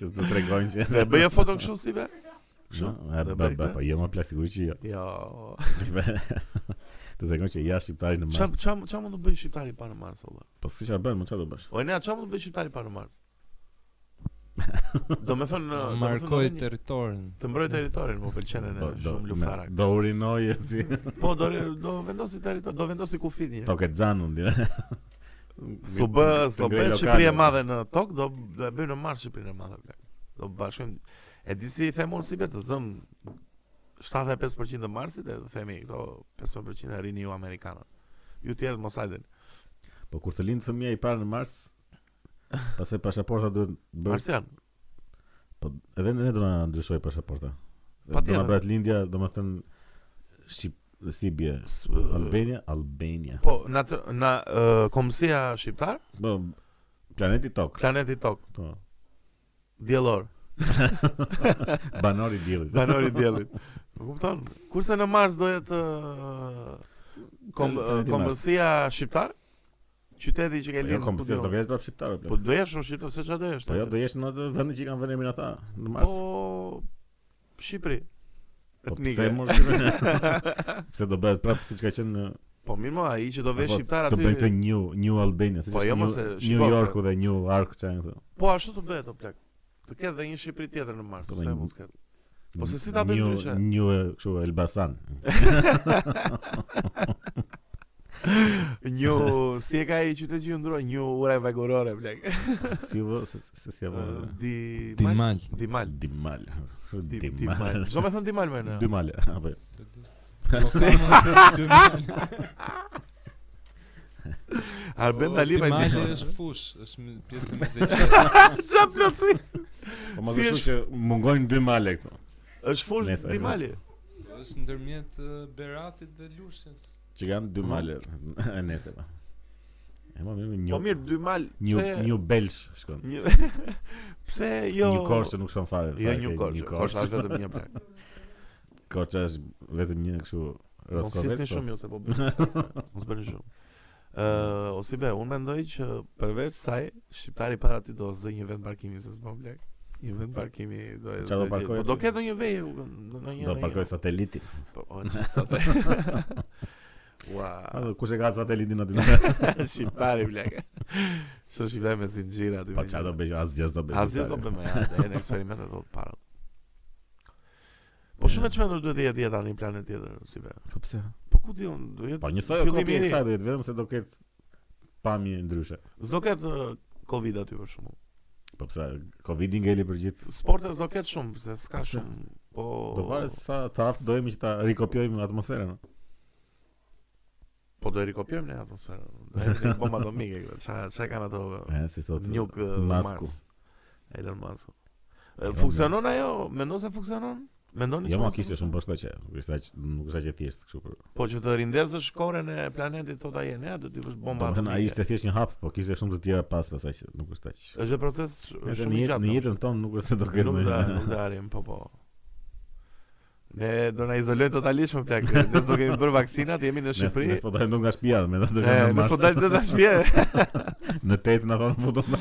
A: Që të tregojnë që...
B: Do e bëje foton kështu si be?
A: Kështu?
B: Kështu.
A: E,
B: do e
A: ba,
B: bëj
A: ba,
B: këtë?
A: po jo më plak sigurisht që jo.
B: Jo.
A: Të tregojnë që ja shqiptari në Mars.
B: Çam çam çam mund të bëj shqiptari pa në Mars olla.
A: Po s'ke çfarë bën, më çfarë do bësh?
B: O ne çam mund të bëj shqiptari pa në Mars. Do me thonë do me thonë,
C: Markoj
B: do me thonë,
C: territorin.
B: të mbroj territorin, më pëlqen ne
A: Do Po, do
B: shumë
A: me-
B: luftarak.
A: do urinoje si
B: Po do re- do vendosi territor, do vendosi kufit një. herë.
A: tokë xanun dire.
B: Su bë, do
A: Të ngrej
B: bëj Shqipëri
A: lokale.
B: e
A: po.
B: madhe në tok, do do e bëjmë në Mars Shqipërinë e madhe bla. Do bashkojmë E di si i them unë si be të zëm 75% të Marsit e të themi këto 15% e rini ju amerikanët. Ju tjerët mos hajdeni.
A: Po kur të lind fëmia i parë në Mars, pastaj pasaporta duhet bësh.
B: Marsian.
A: Po edhe ne do na ndryshoj pasaporta.
B: Pa
A: Do na
B: tjetër.
A: bëhet lindja, domethënë shqip si bie
B: S-
A: Albania, Albania.
B: Po, na c- na uh, komësia shqiptar,
A: Po planeti Tok,
B: planeti Tok,
A: po.
B: diellor,
A: Banori i diellit.
B: zanori i diellit. E kupton? Kurse në Mars do jetë ë, kom,
A: Planeti Mars.
B: komësia shqiptar, qyteti që ke
A: Po, Jo
B: lindur. ku
A: komsi
B: diun.
A: do jesh prap shqiptar.
B: Po do jesh në Shqipëri, se çfarë do jesh?
A: Po jo,
B: tjetër?
A: do jesh në atë vend që i kanë vënë emrin ata në Mars.
B: Po Shqipëri.
A: Po
B: Etnike.
A: pse mos Pse do bëhet prapë siç ka qenë në
B: Po mirë më ai që do vesh
A: apo
B: shqiptar
A: Të bëjnë të
B: aty.
A: New New Albania, siç
B: Po,
A: është
B: jo,
A: New,
B: mos e
A: New
B: shiko,
A: Yorku dhe New York çan këto.
B: Po ashtu të bëhet o plak. Të ketë dhe një Shqipëri tjetër në Mars,
A: Po,
B: pse
A: një-
B: mos ketë. Po, se si ta bëjmë
A: New-
B: ndryshe?
A: New e kështu Elbasan.
B: Një si e ka ai qyteti që ju ndroi, një ura vagorore plak.
A: Si vë se se si apo
B: Di
C: Timal.
B: Dimal.
A: Dimal. Kështu
B: Di-
A: Dimal.
B: Dimal. Ço më thon Dimal më në.
A: Dy male, apo. jo.
C: Se Po, di. Lokama se Timal.
B: Arben
C: O,
B: Dali pa
C: Timali
B: Dimal.
C: është fush, është më- pjesë e muzikës.
B: Ça plotis.
A: Po më
B: Si
A: kështu
B: është-
A: që mungojnë dy male këto.
B: Është fush
A: Nesër.
B: Dimali.
C: Është ndërmjet eh, Beratit dhe Lushnjës.
A: Që kanë dy male e nesër. pa. E më mirë
B: Po
A: një
B: mirë Dimal.
A: një
B: pse-
A: një belsh shkon.
B: një Pse jo?
A: Një korsë nuk shkon fare.
B: Jo
A: fare,
B: një
A: ke
B: korsë. Korsë është vetëm një plak.
A: Korça është vetëm një kështu
B: Mos flisni
A: roskovec.
B: shumë ju se po bëni. Mos bëni shumë. Ë, o si be, unë mendoj që përveç saj shqiptari para ty do zë një vend parkimi se s'po blek. Një vend parkimi do e.
A: Qa do parkoj
B: Po do
A: aty?
B: ketë ndonjë vej, do ndonjë.
A: Do parkoj satelitin.
B: Po, o çfarë sot. Ua,
A: A do kush e ka satelitin aty?
B: shqiptari blek. Shumë shqiptari me zinxhira aty.
A: Po
B: me
A: çfarë do
B: një-
A: bëj? Asgjë s'do bëj.
B: Asgjë do bëjmë, ja, do jenë eksperimente do të para. Po shumë e çmendur duhet të jetë jeta në një planet tjetër, si be.
A: Po pse?
B: Po ku diun, do jetë.
A: Po njësoj o
B: fillimi
A: kopje
B: i
A: e
B: ri.
A: kësaj do jetë vetëm se do ketë pamje ndryshe.
B: S'do ketë ë, Covid aty për shkakun.
A: Po pse Covidi ngeli për gjithë.
B: Sportet s'do ketë shumë, se s'ka
A: Pse?
B: shumë. Po.
A: Do varet sa të aftë dojmë që ta rikopjojmë atmosferën. no?
B: Po do e rikopjojmë ne atmosferën. Do e rikopjojmë bomba atomike këto. Ça ça kanë ato
A: E, si thotë.
B: nuk
A: Masku.
B: Mars. Elon Musk.
A: Jo,
B: E, Funksionon ajo? Mendon se funksionon? Mendoni
A: Jo
B: që
A: ma
B: mos
A: kishte
B: funksionon?
A: shumë poshtë që, nuk është aq nuk është aq e thjeshtë kështu për.
B: Po që të rindezësh korën e planetit thotë ai ne do të bësh bomba
A: Domethënë ai
B: atomike.
A: ishte thjesht një hap, po kishte shumë të tjera pas pasaj që nuk është aq.
B: Është një proces sh-
A: Edhe
B: shumë
A: në
B: i
A: jetë- në
B: gjatë. domethënë.
A: jetën tonë nuk është se do ketë.
B: Nuk da,
A: ndonjë-
B: nuk da arim, po po. Ne do na izolojmë totalisht më plak. Ne s'do kemi bërë vaksinat, jemi në
A: Nes-
B: Shqipëri.
A: Nes po dalë nga shtëpia me ato do
B: E, po
A: kanë në
B: ne
A: Mars.
B: s'po dalim të tash vje.
A: Në tetë na thonë futu në.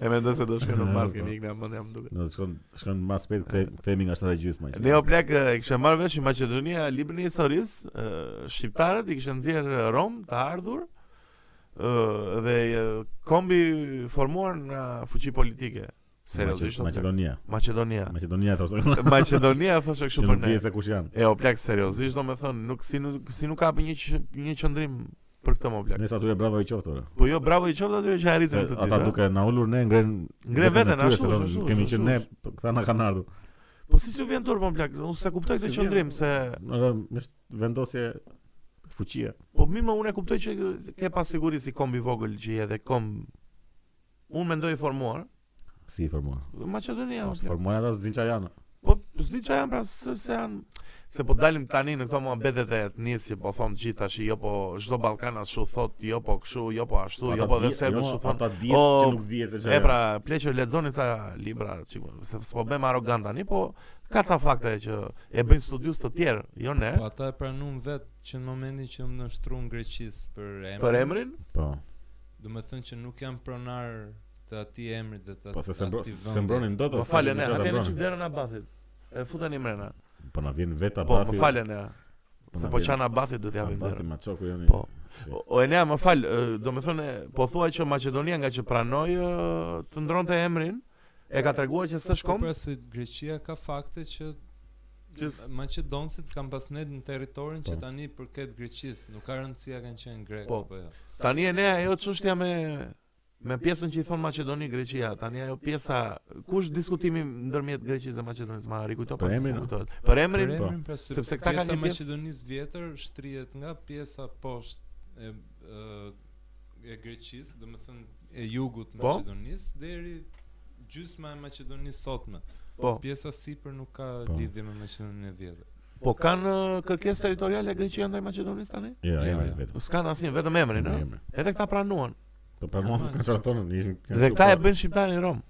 B: E mendoj se do shkojmë në
A: E,
B: Mars,
A: po.
B: kemi ikë në mend jam duke.
A: Në shkon shkon në Mars pet kthe- kthehemi nga 7 gjysmë. që-
B: Ne o plak e kishe marrë vesh që Maqedonia e librin e historisë, e, shqiptarët i kishin nxjerr Rom të ardhur ë dhe e, kombi formuar nga fuqi politike. Seriozisht o plak.
A: Maqedonia.
B: Maqedonia.
A: Maqedonia thoshte.
B: Maqedonia thoshte
A: Që
B: kështu për
A: nuk
B: ne.
A: di se kush janë.
B: E o plak seriozisht do me thënë nuk si nuk si nuk ka një q- një qëndrim për këtë më plak.
A: Ne sa atyre bravo i qoftë. ore.
B: Po jo bravo i qoftë atyre që
A: Se
B: arritën këtë
A: Ata
B: ditë.
A: duke na ulur ne ngren
B: Ngre veten
A: aty,
B: ashtu,
A: se thonë,
B: ashtu,
A: Kemi
B: ashtu,
A: qenë ne,
B: ashtu.
A: po, këta na kanë ardhur.
B: a? Po si s'u vjen turp më plak, unë s'e kuptoj këtë
A: Si vjen?
B: qëndrim se
A: Ora, është vendosje fuqie.
B: po mirë më unë e kuptoj që ke pas siguri si kombi i vogël që je dhe komb unë mendoj i formuar
A: Si i formuar.
B: Maqedonia. më
A: Është
B: plak.
A: formuar Po, ata s'din çfarë janë.
B: Po s'di çfarë janë pra se, se janë se po dalim tani në këto muhabetet e etnisë që po thon gjithë tash jo po çdo Ballkan ashtu thot, jo po kështu, jo po ashtu, jo po dhe se ashtu thon.
A: Ata dihet
B: "O,
A: që nuk dihet se çfarë.
B: E pra, pleqë lexoni ca libra, çiko, se s'po bëjmë arrogant tani, po ka ca fakte që e bëjnë studius të tjerë, jo ne,
C: Po ata e pranuan vet që në momentin që më nështruan Greqisë për emrin.
B: për emrin,
A: po.
C: Do të thënë që nuk janë pronar të atij emri dhe të
A: Po se se mbro-
C: atij
A: se
C: vendi.
A: mbronin dot.
B: më
A: as
B: Po, falë
A: ishin
B: ne,
A: isha ta
B: atje në
A: mbronin.
B: çik derën abathit. E futeni mrena.
A: Po na vjen vetë
B: Po,
A: abathi.
B: më falë ne. Se
A: na
B: po
A: vjen-
B: çan abathit do t'japim
A: Abathi
B: derën.
A: ma çoku joni.
B: Po. O- O Enea, më fal, ë, do me thënë, po thua që Macedonia nga që pranoj ë, të ndronte emrin, e ka treguar që s'është
C: Po
B: kom,
C: pra se Greqia ka fakte që
B: Gjës-
C: Maqedonësit kanë pasnet në territorin që
A: Po.
C: tani përket Greqisë, nuk ka rëndësi a kanë qenë grek
B: Po.
C: apo jo.
B: tani Enea ajo çështja me me pjesën që i thon Maqedoni Greqia, tani ajo pjesa kush diskutimi ndërmjet Greqisë dhe Maqedonisë, ma rikujto
A: Për
B: pas
A: emrin,
B: s'm
A: a?
B: kujtohet. Për emrin,
C: Për
A: po.
C: emrin pra se
B: Sepse
C: sepse
B: këta kanë
C: këta pjesa
B: një
C: e
B: pjesë-
C: Maqedonisë vjetër shtrihet nga pjesa poshtë e ë, e Greqisë, domethënë e jugut të
B: Po.
C: Maqedonisë deri gjysma e Maqedonisë sotme.
B: po,
C: Pjesa sipër nuk ka
A: Po.
C: lidhje me Maqedoninë e vjetër.
B: po kanë ë, kërkesë territoriale Greqia ndaj Maqedonisë tani?
A: Jo, Po,
C: Jo,
A: emri
C: jo.
A: vetë.
B: S'kan asnjë, vetëm emrin, ëh.
A: Emri.
B: Edhe këta pranuan.
A: Po pra mos s'kan çartonën.
B: Dhe këta e bëjnë shqiptarin Rom.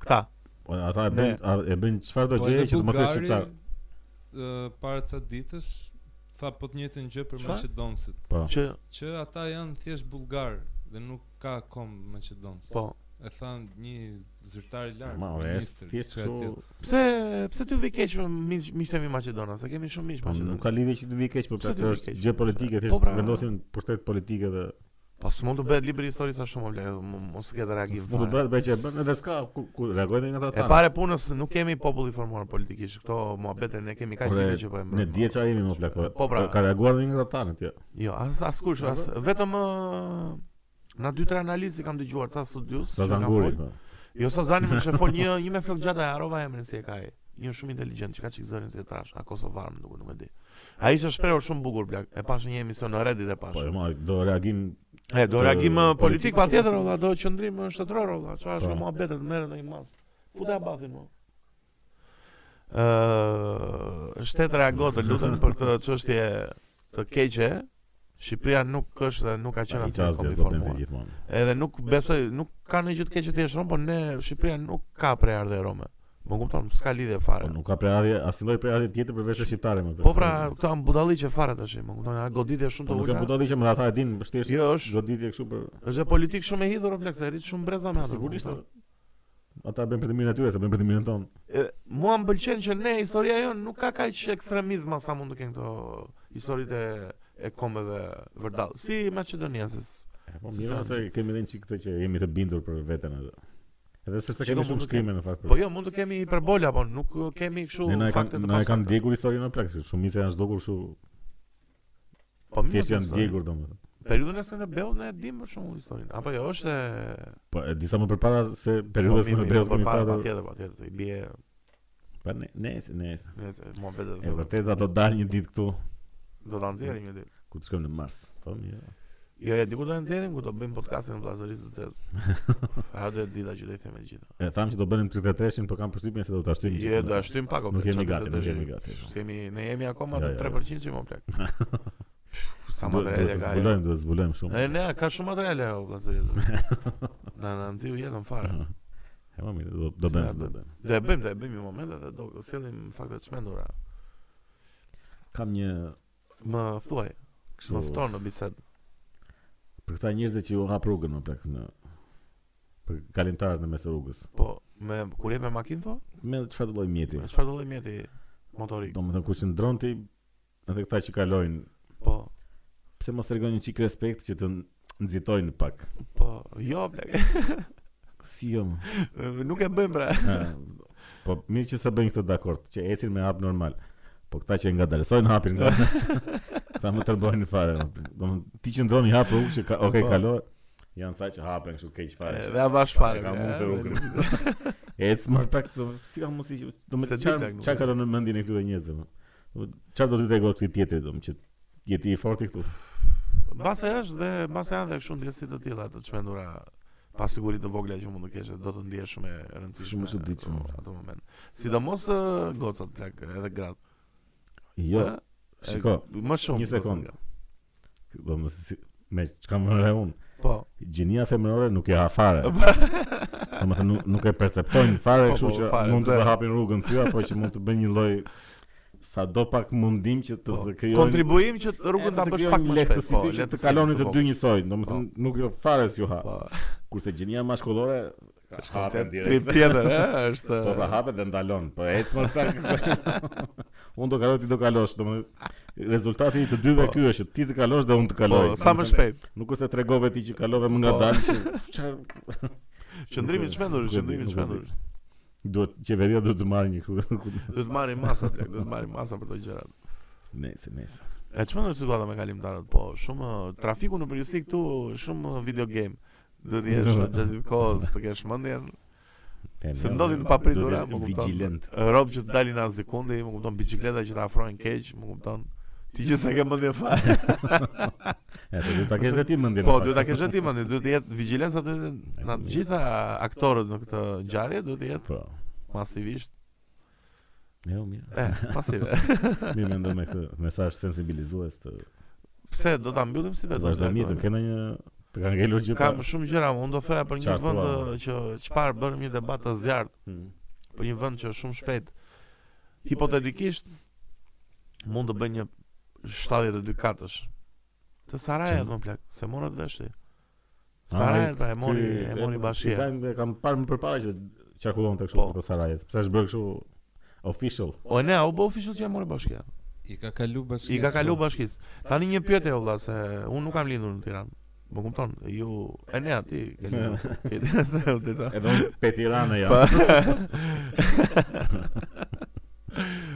B: Këta.
A: Po, Ata e
B: Ne.
A: bëjnë
B: Po,
A: a- e bëjnë çfarëdo
C: Po,
A: gjë që të mos jesh shqiptar.
C: ë, para ca ditësh tha po të njëjtën gjë për
B: Çfarë?
C: Maqedonësit,
A: Po.
B: Që
C: që ata janë thjesht bullgar dhe nuk ka kom Maqedonës.
B: po,
C: E than një zyrtar i lartë,
A: Ma, ore, është
C: ministër,
A: thjesht
C: diçka e tillë.
A: kështu. Po,
B: Pse pse ty vi keq me miq- miqtë e mi Maqedona, se kemi shumë miq
A: Po nuk ka
B: Maqedon.
A: lidhje që të vi keq, por pra
B: Pse të
A: kjo
B: vi
A: është
B: keq?
A: gjë politike,
B: Po,
A: thjesht
B: pra.
A: vendosin pushtet politike dhe
B: Po s'mund të bëhet libër histori sa shumë o vle, m- mos ketë reagim.
A: mund të
B: fare.
A: bëhet bëhet që e bën edhe s'ka ku, ku reagojnë nga ata.
B: E
A: tanë.
B: pare punës nuk kemi popull i formuar politikisht. Këto muhabete ne kemi kaq
A: Ore,
B: vite që po e mbërrim.
A: Ne dje çfarë jemi më plako.
B: Po, pra.
A: Ka reaguar edhe nga ata tani atje.
B: Jo, as askush, as vetëm ë, na dy tre analizë kam dëgjuar ca studius.
A: Sa
B: që kanë
A: zanguri. po.
B: folë. Jo sa zani më shefol një një me flok gjata e harova emrin si e ka ai. Një shumë inteligjent që ka çik zërin si e trash, a kosovar më duket, nuk e di. Ai ishte shprehur shumë bukur blak. E pash në një emision në Reddit e pash.
A: Po e marr do reagim
B: E, do reagim
A: Të-
B: eh, politik pa tjetër, ola, do qëndrim eh, shtetëror, ola, që
A: Po.
B: është mua betet, merë në i mas. Fute a bathin, mo. Uh, shtetë reago të lutën për këtë çështje të keqe, Shqipëria nuk është dhe nuk ka qenë
A: i
B: asnjë
A: çfarë
B: kombi
A: do bëjmë
B: formuar.
A: gjithmonë.
B: Edhe nuk besoj, nuk ka në gjithë keqe të jeshtë Romë, por ne Shqipëria nuk ka prej ardhe Rome. Më kupton, s'ka lidhje
A: Po
B: fare.
A: nuk ka prerje, asnjë lloj prerje tjetër përveç se shqiptare më.
B: Pra. Po pra, këto janë budalliqe fare tash, më kupton, janë goditje shumë
A: po
B: të
A: nuk e
B: ulta.
A: budalliqe, më ata e din vështirë.
B: Jo, është-
A: goditje kështu për
B: Është dhe politik shumë e hidhur o plak, se rrit shumë breza me atë. më
A: Po, sigurisht.
B: kupton.
A: Ata e bëjnë për të mirën e tyre, se bëjnë për të mirën tonë.
B: E, mua më pëlqen që ne historia jonë nuk ka kaq ekstremizëm sa mund të kenë këto historitë e, e kombeve vërdall. Si Maqedonia se s-
A: E, Po
B: Se
A: mirë
B: sa-
A: se kemi edhe një çik këtë që jemi të bindur për veten edhe. Edhe s'është se
B: Shiko,
A: kemi
B: mund
A: shumë
B: të
A: shkrime në fakt. për-
B: Po jo, mund të kemi hiperbola, po nuk kemi kështu
A: Ne na e
B: fakte
A: kanë
B: të
A: na e kanë
B: pasakta.
A: djegur historinë në plak, shumica janë zhdukur kështu,
B: Po mirë,
A: thjesht
B: po,
A: janë
B: historinë.
A: djegur domethënë.
B: Periudhën e Skënderbeut ne e dimë për shembull historinë. Apo jo, është Po, e
A: Po e disa më përpara se periudhës në Beut kemi pasur.
B: patjetër, patjetër, i bie
A: Po ne nesër, nesër.
B: nëse muhabet
A: E vërtet ato dal një ditë këtu
B: do ta nxjerrim një ditë.
A: ku të shkojmë në Mars. Po mirë.
B: Jo, e diku do ta nxjerrim ku do bëjmë podcastin e vllazërisë së zezë. Ha do e dita që do i them e gjitha.
A: E tham që do bënim 33-shin, por kam përshtypjen se do ta shtyjmë.
B: Jo, do ta shtyjm pak o.
A: Nuk
B: plak,
A: jemi
B: çfarë
A: gati,
B: do të
A: nuk
B: të
A: jemi
B: shtyjmë?
A: gati. po.
B: Kemi, ne jemi akoma
A: Jo, jo.
B: të 3% që më plak. Sa
A: Do do
B: materiale
A: të
B: ka ajo.
A: zbulojmë, do të zbulojmë shumë.
B: E ne ka shumë materiale o vllazëri. Na na nxiu jetën fare.
A: Aha. E më mirë, do do bëjmë,
B: Se
A: do bëjmë.
B: Do e bëjmë, do e bëjmë një moment dhe do sillim fakte të çmendura.
A: Kam një
B: Më thuaj, më
A: kështu
B: fton në bisedë.
A: për këta njerëz që u hap rrugën më pak në për kalimtarët në mes të rrugës.
B: Po, me kur je me makinë po?
A: Me çfarë do lloj mjeti?
B: Me çfarë do lloj mjeti motorik?
A: Domethënë kur qëndron ti edhe këta që kalojnë,
B: Po,
A: pse mos tregojnë një çik respekt që të nxitojnë pak.
B: po, jo plak.
A: Si jo. më?
B: Nuk e bëjmë pra.
A: Ha, po mirë që sa bëjnë këtë dakord, që ecin me hap normal. Po këta që nga dalsojnë hapin nga. sa më tërbojnë fare. Domethënë ti qëndron i hap rrugë që ka, okay,
B: Po.
A: kalo. Janë sa që hapen kështu keq fare.
B: E,
A: që
B: Dhe avash fare.
A: Ka
B: bla,
A: mund të
B: e,
A: rrugën.
B: nuk-
A: Ec më pak të si ka mos i do
B: Se
A: të
B: di
A: çfarë
B: plak, nuk
A: çfarë
B: e.
A: kalon në mendjen e këtyre njerëzve. më? Do më- Çfarë do të tregoj këtij tjetri domun që je ti i fortë këtu.
B: Mbase është dhe mbase janë dhe kështu ndjesi të tilla të çmendura pasiguri të vogla që mund të kesh do të ndihesh shumë e rëndësishme.
A: Shumë e çuditshme.
B: në Atë moment. Sidomos ë, gocat plak, edhe gratë.
A: Jo,
B: Ë, Ah, e,
A: shiko,
B: Më shumë.
A: një
B: gocat,
A: sekundë.
B: gratë.
A: do më si, me çka më re unë.
B: Po.
A: Gjinia femërore nuk ja ha fare. Domethënë nuk, nuk e perceptojnë fare,
B: Po,
A: kështu
B: po,
A: që
B: fare,
A: mund të
B: zero.
A: të hapin rrugën ty apo që mund të bëjnë një lloj sado pak mundim që të,
B: po.
A: të krijojnë
B: Kontribuim që
A: e,
B: rrugën ta
A: të
B: bësh
A: krijojnë
B: pak më shpejt. Po,
A: lehtësi ty që të kaloni të dy njësoj. Domethënë nuk jo fare s'ju ha.
B: Po.
A: Kurse gjinia maskullore ka hapen
B: Tri
A: direkt.
B: tjetër, ë, është
A: Po pra hapet dhe ndalon, po ecë më pak. Unë do kaloj ti do kalosh, domethënë rezultati i të dyve
B: Po.
A: ky është që ti të kalosh dhe unë të kaloj.
B: Po, sa më
A: Domethënë,
B: shpejt.
A: Nuk është se tregove ti që kalove më
B: Po.
A: ngadalë që çfarë
B: Qëndrimi i çmendur,
A: Nuk e di,
B: qëndrimi i
A: nuk e di.
B: çmendur.
A: duhet qeveria duhet të marrë një kështu.
B: Do të marrim masa, plak, do të marrim masa për këto gjëra.
A: Nëse, nëse.
B: E që mëndër situata me kalimtarët, po, shumë eh, trafiku në përgjithësi këtu, shumë eh, video game. Do të jesh
A: Jo.
B: gjatë gjithë kohës të kesh mendjen, se
A: Temi, jo,
B: ndodhin të
A: duhet
B: papritura,
A: jesh
B: më kupton.
A: Vigjilent.
B: rob që të dalin as sekundi, më kupton bicikleta që të afrohen keq, më kupton. Ti që s'e ke mendje fare.
A: E do ta kesh dhe ti mendin.
B: Po,
A: në
B: duhet ta
A: fakt.
B: kesh vetë mendje, duhet të jetë vigjilenca të jetë na të gjitha aktorët në këtë ngjarje duhet të jetë
A: Po.
B: masivisht,
A: Jo, mirë.
B: e, pasive.
A: Mirë mendoj me këtë mesazh sensibilizues të
B: Pse do ta mbyllim si vetë?
A: vazhdojmë jetën. Kemë një të ka ngelur gjë.
B: Kam shumë gjëra, unë do thoja për një
A: Qartë,
B: vend
A: valla.
B: eh, që çfarë bërëm një debat të zjarrt
A: Hmm.
B: për një vend që është shumë shpejt. Hipotetikisht mund të bëj një 72 katësh. Të Sarajevit
A: Që?
B: më plak, se morët vesh ti. Sarajevit pra e mori e mori Bashia.
A: Kam kam parë më përpara që çarkullonte kështu
B: Po.
A: po. të Sarajevit. Pse është bërë kështu official?
B: O ne, u bë official që e mori Bashkia.
C: I ka kalu bashkë.
B: I ka kalu bashkisë. Tani një pyetje o vlla se unë nuk kam lindur në Tiranë. Më kupton? Ju e ne aty ke lindur. Pyetja se u deta.
A: Edhe unë pe Tiranë jam.
B: Pa.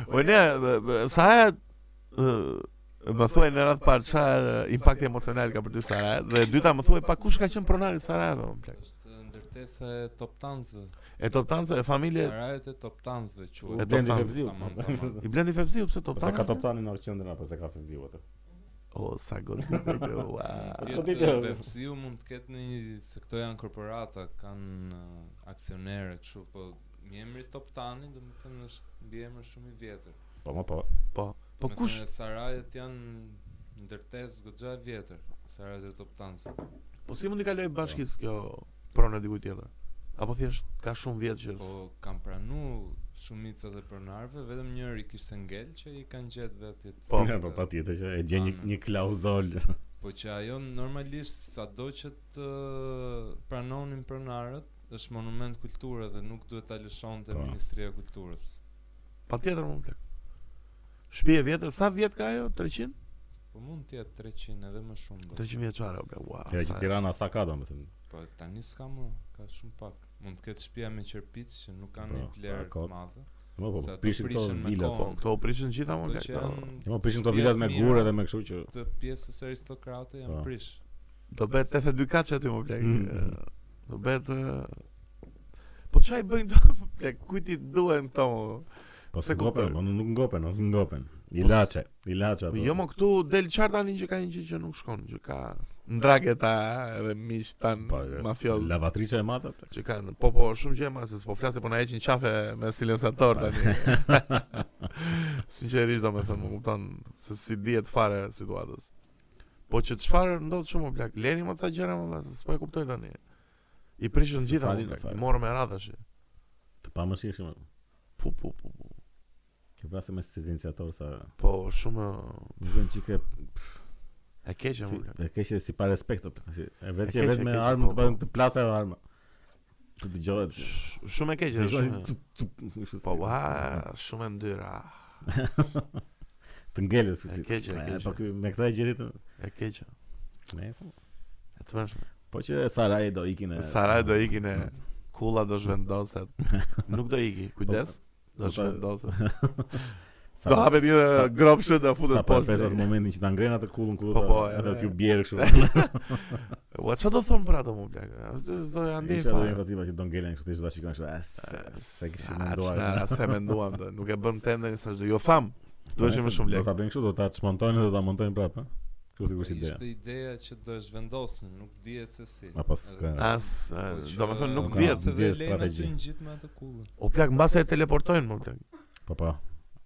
B: o ne, b- b- sa herë ë, më thuaj në radhë parë çfarë impakti emocional ka për ty Sarajevo dhe e dyta më thuaj pa kush ka qenë pronari i Sarajevos më plak.
C: Është ndërtesa e toptanzve.
B: E Toptanzve e familje
C: Sarajet e toptanzve
A: E
C: quhet.
B: do-
A: blendi
B: Toptan.
A: Fevziu.
C: Tamam, tamam.
B: i Blendi Fevziu pse
A: Pse ka
B: Toptan?
A: toptanin në qendrën apo se ka Fevziu atë?
B: O sa godit. ua.
A: Po, ti
C: Tjetër
A: do-
C: vefsiu mund të ketë në një se këto janë korporata, kanë uh, aksionere kështu, po mbi emri Toptani, domethënë është mbi emër shumë i vjetër.
A: Po, më po.
B: Po, po
C: Domethënë,
B: kush
C: Sarajet janë ndërtesë goxha e vjetër. Sarajet e Toptanzve.
B: po si mund i kaloj bashkisë kjo pronë dikujt tjetër? Apo thjesht ka shumë vjet që s-
C: Po kam pranu shumica e pronarëve, vetëm njëri kishte ngel që i kanë gjetë vetë. të
A: Po,
C: tjerë.
A: po patjetër që e gjen një
C: Anë.
A: një klauzol.
C: Po që ajo normalisht sado që të uh, pranonin pronarët, është monument kulture dhe nuk duhet ta lëshonte
A: Po.
C: Ministria e Kulturës.
B: patjetër më plak. Shtëpi e vjetër, sa vjet ka ajo? 300?
C: Po mund të jetë 300 edhe më shumë do.
B: 300 vjeçare o plak. Ua.
A: Ja
B: sa
A: që
B: e-
A: Tirana sa ka domethënë.
C: Po tani s'ka më, ka shumë pak. Mund të ketë shtëpia me qerpic që nuk kanë
A: Po,
C: një vlerë
A: ka-
C: të madhe.
A: Po, po,
C: Se ato
A: prishin këto
C: prishin me
A: vilat.
C: kohë.
B: Po, këto u prishin gjitha më
C: Ato
B: plak.
C: që
B: do-
C: janë
A: Po, prishin këto
C: shtëpi
A: vilat
C: të
A: me
C: mira
A: gurë dhe me kështu që
C: të pjesës aristokrate janë
A: Po.
C: prish.
B: Do bëhet 82 kaç aty më plak.
A: Mm.
B: e, Do bëhet e, Po çfarë i bëjnë këto më plak? Kujt i duhen këto? mo?
A: po
B: Se
A: se ngopen,
B: kuptoj.
A: po nuk ngopen, ose ngopen. Ilaçe, ilaçe
B: Po
A: ato.
B: jo më këtu del qartë tani që ka një gjë që nuk shkon, që ka ndrageta edhe miq tan
A: Po,
B: mafioz.
A: Lavatrice e madhe. plak.
B: Që kanë, po po, shumë gjema se s'po flasë, po na heqin qafe me silensator tani. Sinqerisht do me thënë, më kupton se si dihet fare situatës. Po që çfarë ndodh shumë më plak, leni më ca gjëra më valla, se s'po e kuptoj tani. I prishën gjitha,
A: Falin,
B: më plak,
A: falin.
B: i morëm me radhash.
A: Të pamëshirshme.
B: Pu pu pu. pu.
A: Që vrasim me silenciator sa
B: Po shumë
A: nuk janë çike
B: e keqe
A: si,
B: më plak.
A: e keqe si pa respekt. plak. Si, E
B: E
A: vetë që
B: keqe,
A: vetë
B: e
A: me
B: keqe,
A: armë
B: po,
A: të
B: po.
A: bëhen të plasë ajo arma. Të dëgjohet.
B: Sh- Shumë e keqe, shumë.
A: shumë.
B: Po ua, shumë e ndyra.
A: Të ngelet kështu
B: E
A: si.
B: keqe, e
A: E,
B: keqe.
A: Po ky me këtë e gjeti të.
B: E keqe.
A: Nëse.
B: E të mërshme.
A: Po që Saraj do ikin e po.
B: Saraj do ikin e kulla do zhvendoset. Nuk do iki, kujdes.
A: po,
B: Do
A: po.
B: zhvendoset.
A: Sa-
B: Do hapet
A: sa-
B: një grop shët dhe
A: Sa
B: futet
A: po pesat
B: poshtë.
A: momentin që ta ngrenë atë kullën ku
B: Po,
A: ta-
B: po,
A: edhe
B: edhe-
A: t'ju bjerë kështu.
B: Ua, që do thonë për ato mu plak? Do janë ndihë
A: Isha do një
B: fare.
A: tativa që do ngelen kështu ti çdo shikon kështu. "A, se- Se kishim
B: Ah,
A: menduar.
B: çna, Se menduam të, nuk e bëm tendën sa shdo. Jo tham,
A: Po,
B: duheshim
A: nëse
B: më shumë
A: Do
B: lek. Po,
A: ta bëjnë kështu, do ta çmontojnë dhe do ta montojnë prapë. ha? Kjo sigurisht ideja.
C: Ishte ideja që do e zhvendosnin, nuk dihet se si.
A: A pas
C: Edhe-
A: ka
B: As,
C: Po
B: e,
C: që-
B: do me thënë nuk
A: Ka-
B: vjen.
C: Se
A: ndjes
C: dhe lejnë aty
A: strategji.
C: ngjitë me atë kullën.
B: O plak, mbase e teleportojnë më plak.
A: Po po,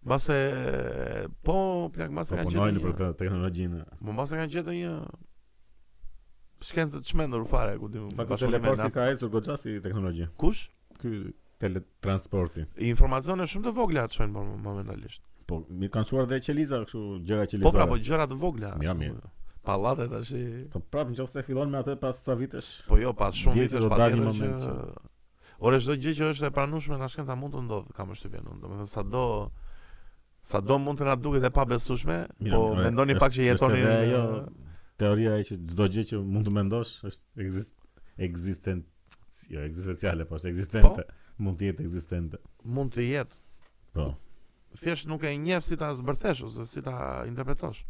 B: Mbase po plak, mbase
A: po
B: kanë
A: punojnë
B: gjetur.
A: për
B: një-
A: të teknologjinë.
B: Po mbase kanë gjetur një shkencë të çmendur fare ku di.
A: Në
B: më,
A: fakt
B: bashkëpunim me
A: teleporti
B: NASA.
A: ka ecur goxha si teknologji.
B: Kush?
A: Ky teletransporti.
B: Informacione shumë të vogla atë shojnë mo- momentalisht.
A: Po mirë kanë çuar dhe qeliza kështu gjëra
B: Po pra,
A: qelizore.
B: po gjëra të vogla.
A: Mira, mirë.
B: Pallate tash i-
A: Po prapë nëse fillon me atë pas sa vitesh.
B: Po jo, pas shumë
A: Ndjesi
B: vitesh
A: do dalë një
B: patjetër
A: moment
B: që Ore çdo gjë që është e pranueshme nga shkenca mund të ndodhë, kam përshtypjen unë. Domethënë sado sado mund të na duket e pabesueshme,
A: Mira,
B: po
A: mirë,
B: mendoni
A: është-
B: pak që
A: është
B: jetoni
A: edhe
B: në-
A: ajo teoria e që çdo gjë që mund të mendosh është ekzist ekzistent jo ekzistenciale, po është ekzistente. Mund të jetë ekzistente.
B: mund të jetë.
A: Po.
B: Thjesht nuk e njeh si ta zbërthesh ose si ta interpretosh.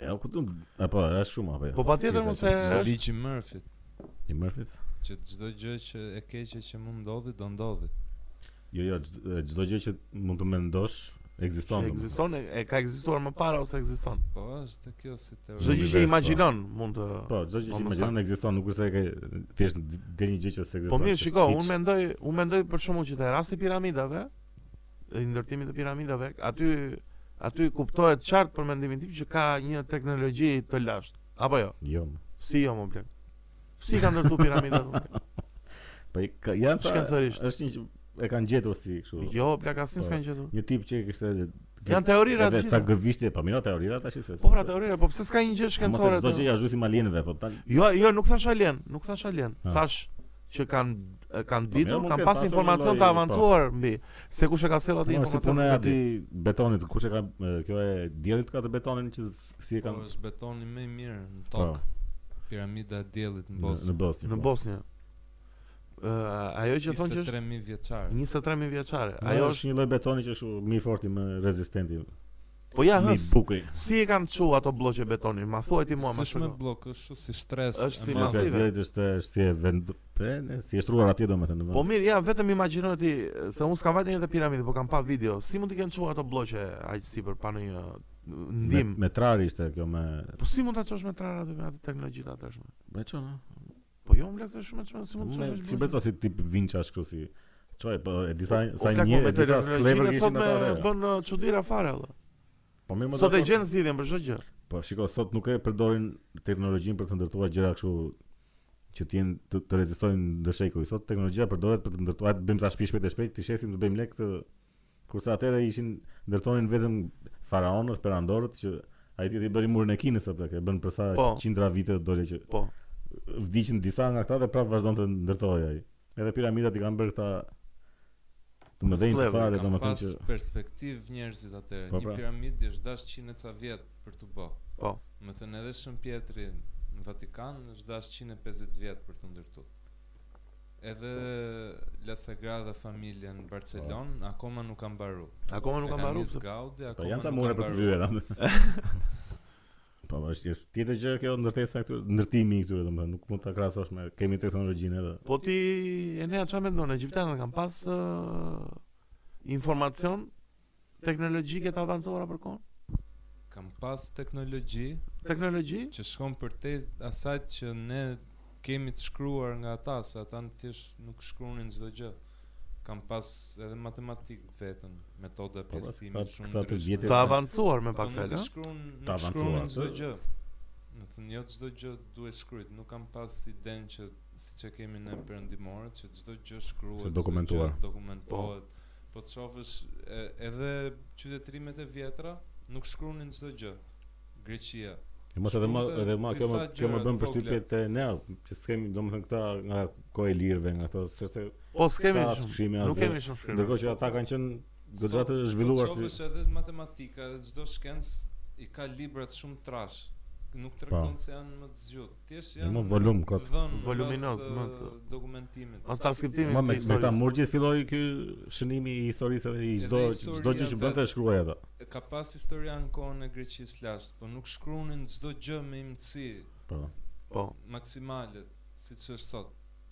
A: E o këtu apo është shumë apo. jo?
B: Po patjetër mos e
C: Është
B: është-
C: ligji i Murphyt,
A: i Murphys.
C: që çdo gjë që e keqe që mund ndodhi do ndodhi.
A: Jo, jo, çd- e, çdo gjë që mund të mendosh ekziston.
B: Që
A: domethënë.
B: ekziston, e e ka ekzistuar më para ose ekziston.
C: Po është kjo si
B: Çdo
C: teori.
A: Zë-
B: gjë që
A: Univers, po.
B: imagjinon mund të
A: Po, çdo gjë
B: Po,
A: që
B: më
A: imagjinon ekziston, nuk është se ke thjesht del një gjë që s'ekziston.
B: Po mirë,
A: që
B: shiko,
A: hiç.
B: unë mendoj, unë mendoj për shkakun që te rasti i piramidave, i ndërtimit të piramidave, aty aty kuptohet qartë për mendimin tim që ka një teknologji të lashtë. Apo jo?
A: Jo.
B: Si jo më blek? Si ka ndërtu piramidat? më blek?
A: Po i ka janë tha-
B: Shkencërisht.
A: Është një që e kanë gjetur si kështu.
B: Jo, blek asnjë s'kan gjetur.
A: Një tip që kishte
B: Janë teorira
A: Po. edhe
B: të
A: ca
B: gjitha.
A: gëvishtje, po mirë teorira tash se.
B: Po pra teorira, po pse s'ka një gjë shkencore?
A: Mos çdo
B: të-
A: gjë ja zhysim alienëve, po ta
B: Jo, jo, nuk thash alien, nuk thash alien.
A: Ah.
B: Thash që kanë kanë
A: Po, mirë,
B: ditur,
A: mund
B: kanë
A: ketë
B: pas
A: pasur një
B: informacion
A: lloj-
B: të avancuar mbi se kush e ka sjellë atë
A: Po si
B: informacion.
A: puna po. e
B: nuk e
A: atij
B: di.
A: betonit, kush e ka e, kjo e diellit ka të betonin që si e
C: Po
A: kanë
C: është betoni më i mirë në
A: Po,
C: tokë. Piramida e diellit në
A: në-
C: Bosnë.
A: Në Bosnjë.
B: Në
A: po.
B: Bosnjë. Ë, ajo që thonë që është
C: 23000 vjeçar.
B: 23000 vjeçare.
A: Në,
B: Ajo është
A: një lloj betoni që është më i fortë, më rezistent.
B: Po ja,
A: Më i
B: hës.
A: bukur.
B: Si e kanë çu ato bloqe betoni? Ma thuaj ti mua
C: Mua
B: më
C: më shumë
B: shpejt.
C: blok, është shumë si stres.
B: Është si
C: e
A: Ma
C: madhe.
B: masive.
A: drejt është si e vend pe, ne, si e shtruar atje domethënë. në
B: Po
A: vend.
B: mirë, ja, vetëm imagjino ti se unë s'kam vajtë një të piramidë, po kam pa video. Si mund t'i kenë çu ato bloqe aq sipër pa ndonjë uh, ndim?
A: Me, me trari ishte kjo me
B: Po si mund ta çosh me trar aty me atë teknologji të atëshme?
A: me çon.
B: Po jo, më lëse shumë çmë, si mund të
A: Me
B: çosh?
A: si bëta si tip vinça ashtu si. Çoj, po e disa sa
B: Sa
A: një e disa clever
B: sot
A: kishin
B: me
A: ata. atëherë.
B: bën uh, çuditëra fare valla.
A: Po mirë më
B: Sot e
A: dakord.
B: gjen zgjidhjen për çdo gjë.
A: Po shiko, sot nuk e përdorin teknologjinë për të ndërtuar gjëra kështu që të jenë të, të rezistojnë ndërshekuj. Sot teknologjia përdoret për të ndërtuar, hajde bëjmë sa shpi shpejt e shpejt, të shesim të bëjmë lek të kurse atëherë ishin ndërtonin vetëm faraonët, perandorët që ai ti i bëri murin e Kinës apo e bën për sa
B: Po.
A: qindra vite dole që
B: Po.
A: vdiqin disa nga këta dhe prapë vazhdon të ndërtohej ai. Edhe piramidat i kanë bërë këta të mëdhenj të
B: Clever,
A: fare,
C: Kam
A: domethënë
C: pas
A: që
C: perspektiv njerëzit atëre.
A: Po,
C: Një
A: pra.
C: piramidë është dash 100 e ca vjet për të bë.
B: Po.
C: Më thënë edhe Shën Pietri në Vatikan është dash 150 vjet për të ndërtu. Edhe
A: Po.
C: La Sagrada Familia në Barcelonë akoma nuk ka mbaru.
B: Akoma nuk
C: E
B: kam
C: ka
B: mbaruar.
C: Miss Gaudi,
A: Po
C: akoma
A: janë ca
C: nuk
A: mure
C: ka
A: për të
C: mbaruar.
A: vyer. atë. Po po, është është tjetër gjë kjo ndërtesa këtu, ndërtimi i këtyre domethënë, nuk mund ta krahasosh me kemi teknologjinë edhe.
B: Po ti e nea çfarë mendon? Egjiptanët kanë pas uh, informacion teknologjike të avancuara për kohën?
C: Kam pas teknologji
B: Teknologji?
C: që shkon për te asaj që ne kemi të shkruar nga ata, se ata në thjesht nuk shkruanin çdo gjë. Kam pas edhe matematikë të vetën, metoda
A: pra,
C: pjesëtimit
A: këta-
C: shumë
A: këta të
C: ndryshme.
A: vjetit-
B: Të avancuar me pak
C: Po,
B: fjalë.
C: Nuk
B: ë?
C: shkruan,
A: Të
C: nuk shkruan
A: avancuar,
C: çdo
A: të-
C: gjë. Në thënë, jo çdo gjë duhet shkruajt. Nuk kam pas idenë që siç e kemi në perëndimorët që çdo gjë
A: Është
C: shkruhet, çdo gjë
A: dokumentuar.
C: dokumentohet. Po të shofësh e- edhe qytetrimet e vjetra nuk shkruanin çdo gjë. Greqia.
A: E mos edhe më
C: Shkruante
A: edhe më kjo më
C: disa
A: kjo më
C: gjëra
A: bën
C: të
A: përshtypje te ne, që s'kemi domethënë këta nga kohë e lirëve, nga ato s'është
B: Po s'kemi
A: Ta
B: shumë.
A: shkrimi
B: Nuk
A: asgjë.
B: kemi shumë shkrim.
A: ndërkohë që ata kanë qenë goxha të
C: Sot,
A: zhvilluar
C: Po të
A: si
C: shofësh edhe matematika, edhe çdo shkencë i ka librat shumë trash. Nuk tregon se janë më të zgjuar. Thjesht
A: Jo,
C: janë
A: Po. më volum, kot.
C: dhënë mbas,
B: Voluminoz, më
C: e,
B: të-
C: dokumentimit.
B: As transkriptimin
A: Ma
B: të
A: me me
B: historisë.
A: këta murgjit filloi ky shënimi i historisë edhe i
C: Edhe
A: çdo
C: historia
A: çdo gjë që bënte e shkruaj ato.
C: ka pas historian kohën e Greqisë lashtë, po nuk shkruanin çdo gjë me imëci
A: Po.
B: Po.
C: maksimale siç është sot.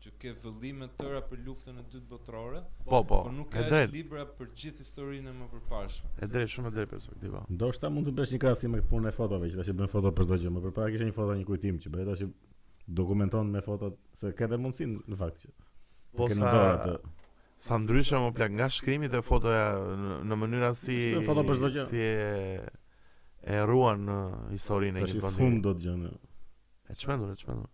C: që ke vëllime të tëra për luftën e dytë botërore,
B: Po, po.
C: por nuk
B: e
C: ka as
B: drejt.
C: libra për gjithë historinë e më përparshme.
B: E drejt, shumë e drejt perspektiva.
A: Ndoshta mund të bësh një krahasim me këtë punën e fotove, që tash i bën foto për çdo gjë. Më përpara kishte një foto një kujtim që bëhet tash i dokumenton me fotot se ka edhe mundsinë në fakt që.
B: Po
A: ke në dorë
B: sa
A: atë.
B: sa ndryshe më plak nga shkrimit e fotoja në, në mënyra si
A: Shkruaj foto për çdo gjë.
B: si e e ruan në historinë e
A: Tash
B: një
A: i
B: vendi.
A: shum do të gjë. në-
B: E çmendur, e çmendur.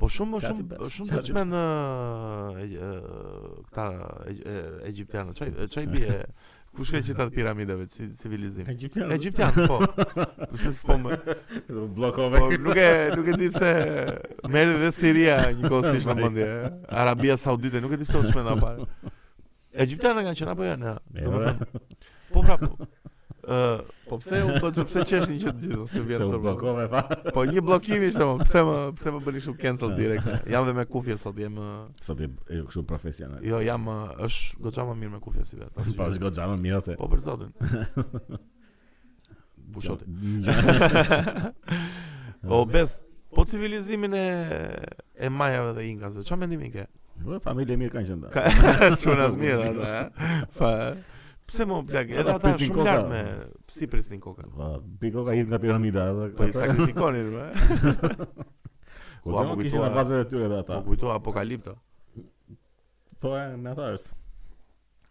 B: Po shumë
A: Gati
B: shumë
A: bash,
B: shumë të
A: gati.
B: çmend ë, e- e- këta e- e- egjiptianë. Çaj çaj bie kush ka qita të piramidave ci- civilizim.
A: Egjiptian.
B: Egjiptian, po. Pse s'po më.
A: Do bllokove.
B: Po nuk e nuk e di pse merr edhe Siria njëkohësisht në mendje. e. Arabia Saudite nuk e di pse u çmend fare. Egjiptianë kanë qenë apo janë? ja?
A: E,
B: Domethënë. Po prapë. Ë, po pse u po pse qeshin që të gjithë se vjen
A: Se u
B: turp.
A: bllokove fa.
B: Po një bllokim ishte më, pse më pse më bëni shumë cancel direkt. Jam dhe me kufje sot, jam ë,
A: Sa ti e kështu profesional.
B: jo jam ë, është goxha më mirë me kufje si vet. asnjë.
A: Pa zgo xhamë mirë se.
B: Po për zotin. Bushoti. o bes, po civilizimin e e majave dhe inkasve, çfarë mendimi ke?
A: Po familje mirë kanë qenë.
B: Ka çuna të mira ata, ha? Pa pse më plak, edhe
A: Po, Ata
B: ata
A: prisnin
B: shumë
A: koka.
B: lart me si prisnin kokën.
A: Po, Piko ka hidhur nga piramida, edhe
B: Po i sakrifikonin, eh? më.
A: Ku
B: Po,
A: do
B: apo
A: të kishin
B: kujtoa-
A: në fazën e tyre edhe ata.
B: Po kujto Apokalipto,
A: Po, e, me ata është.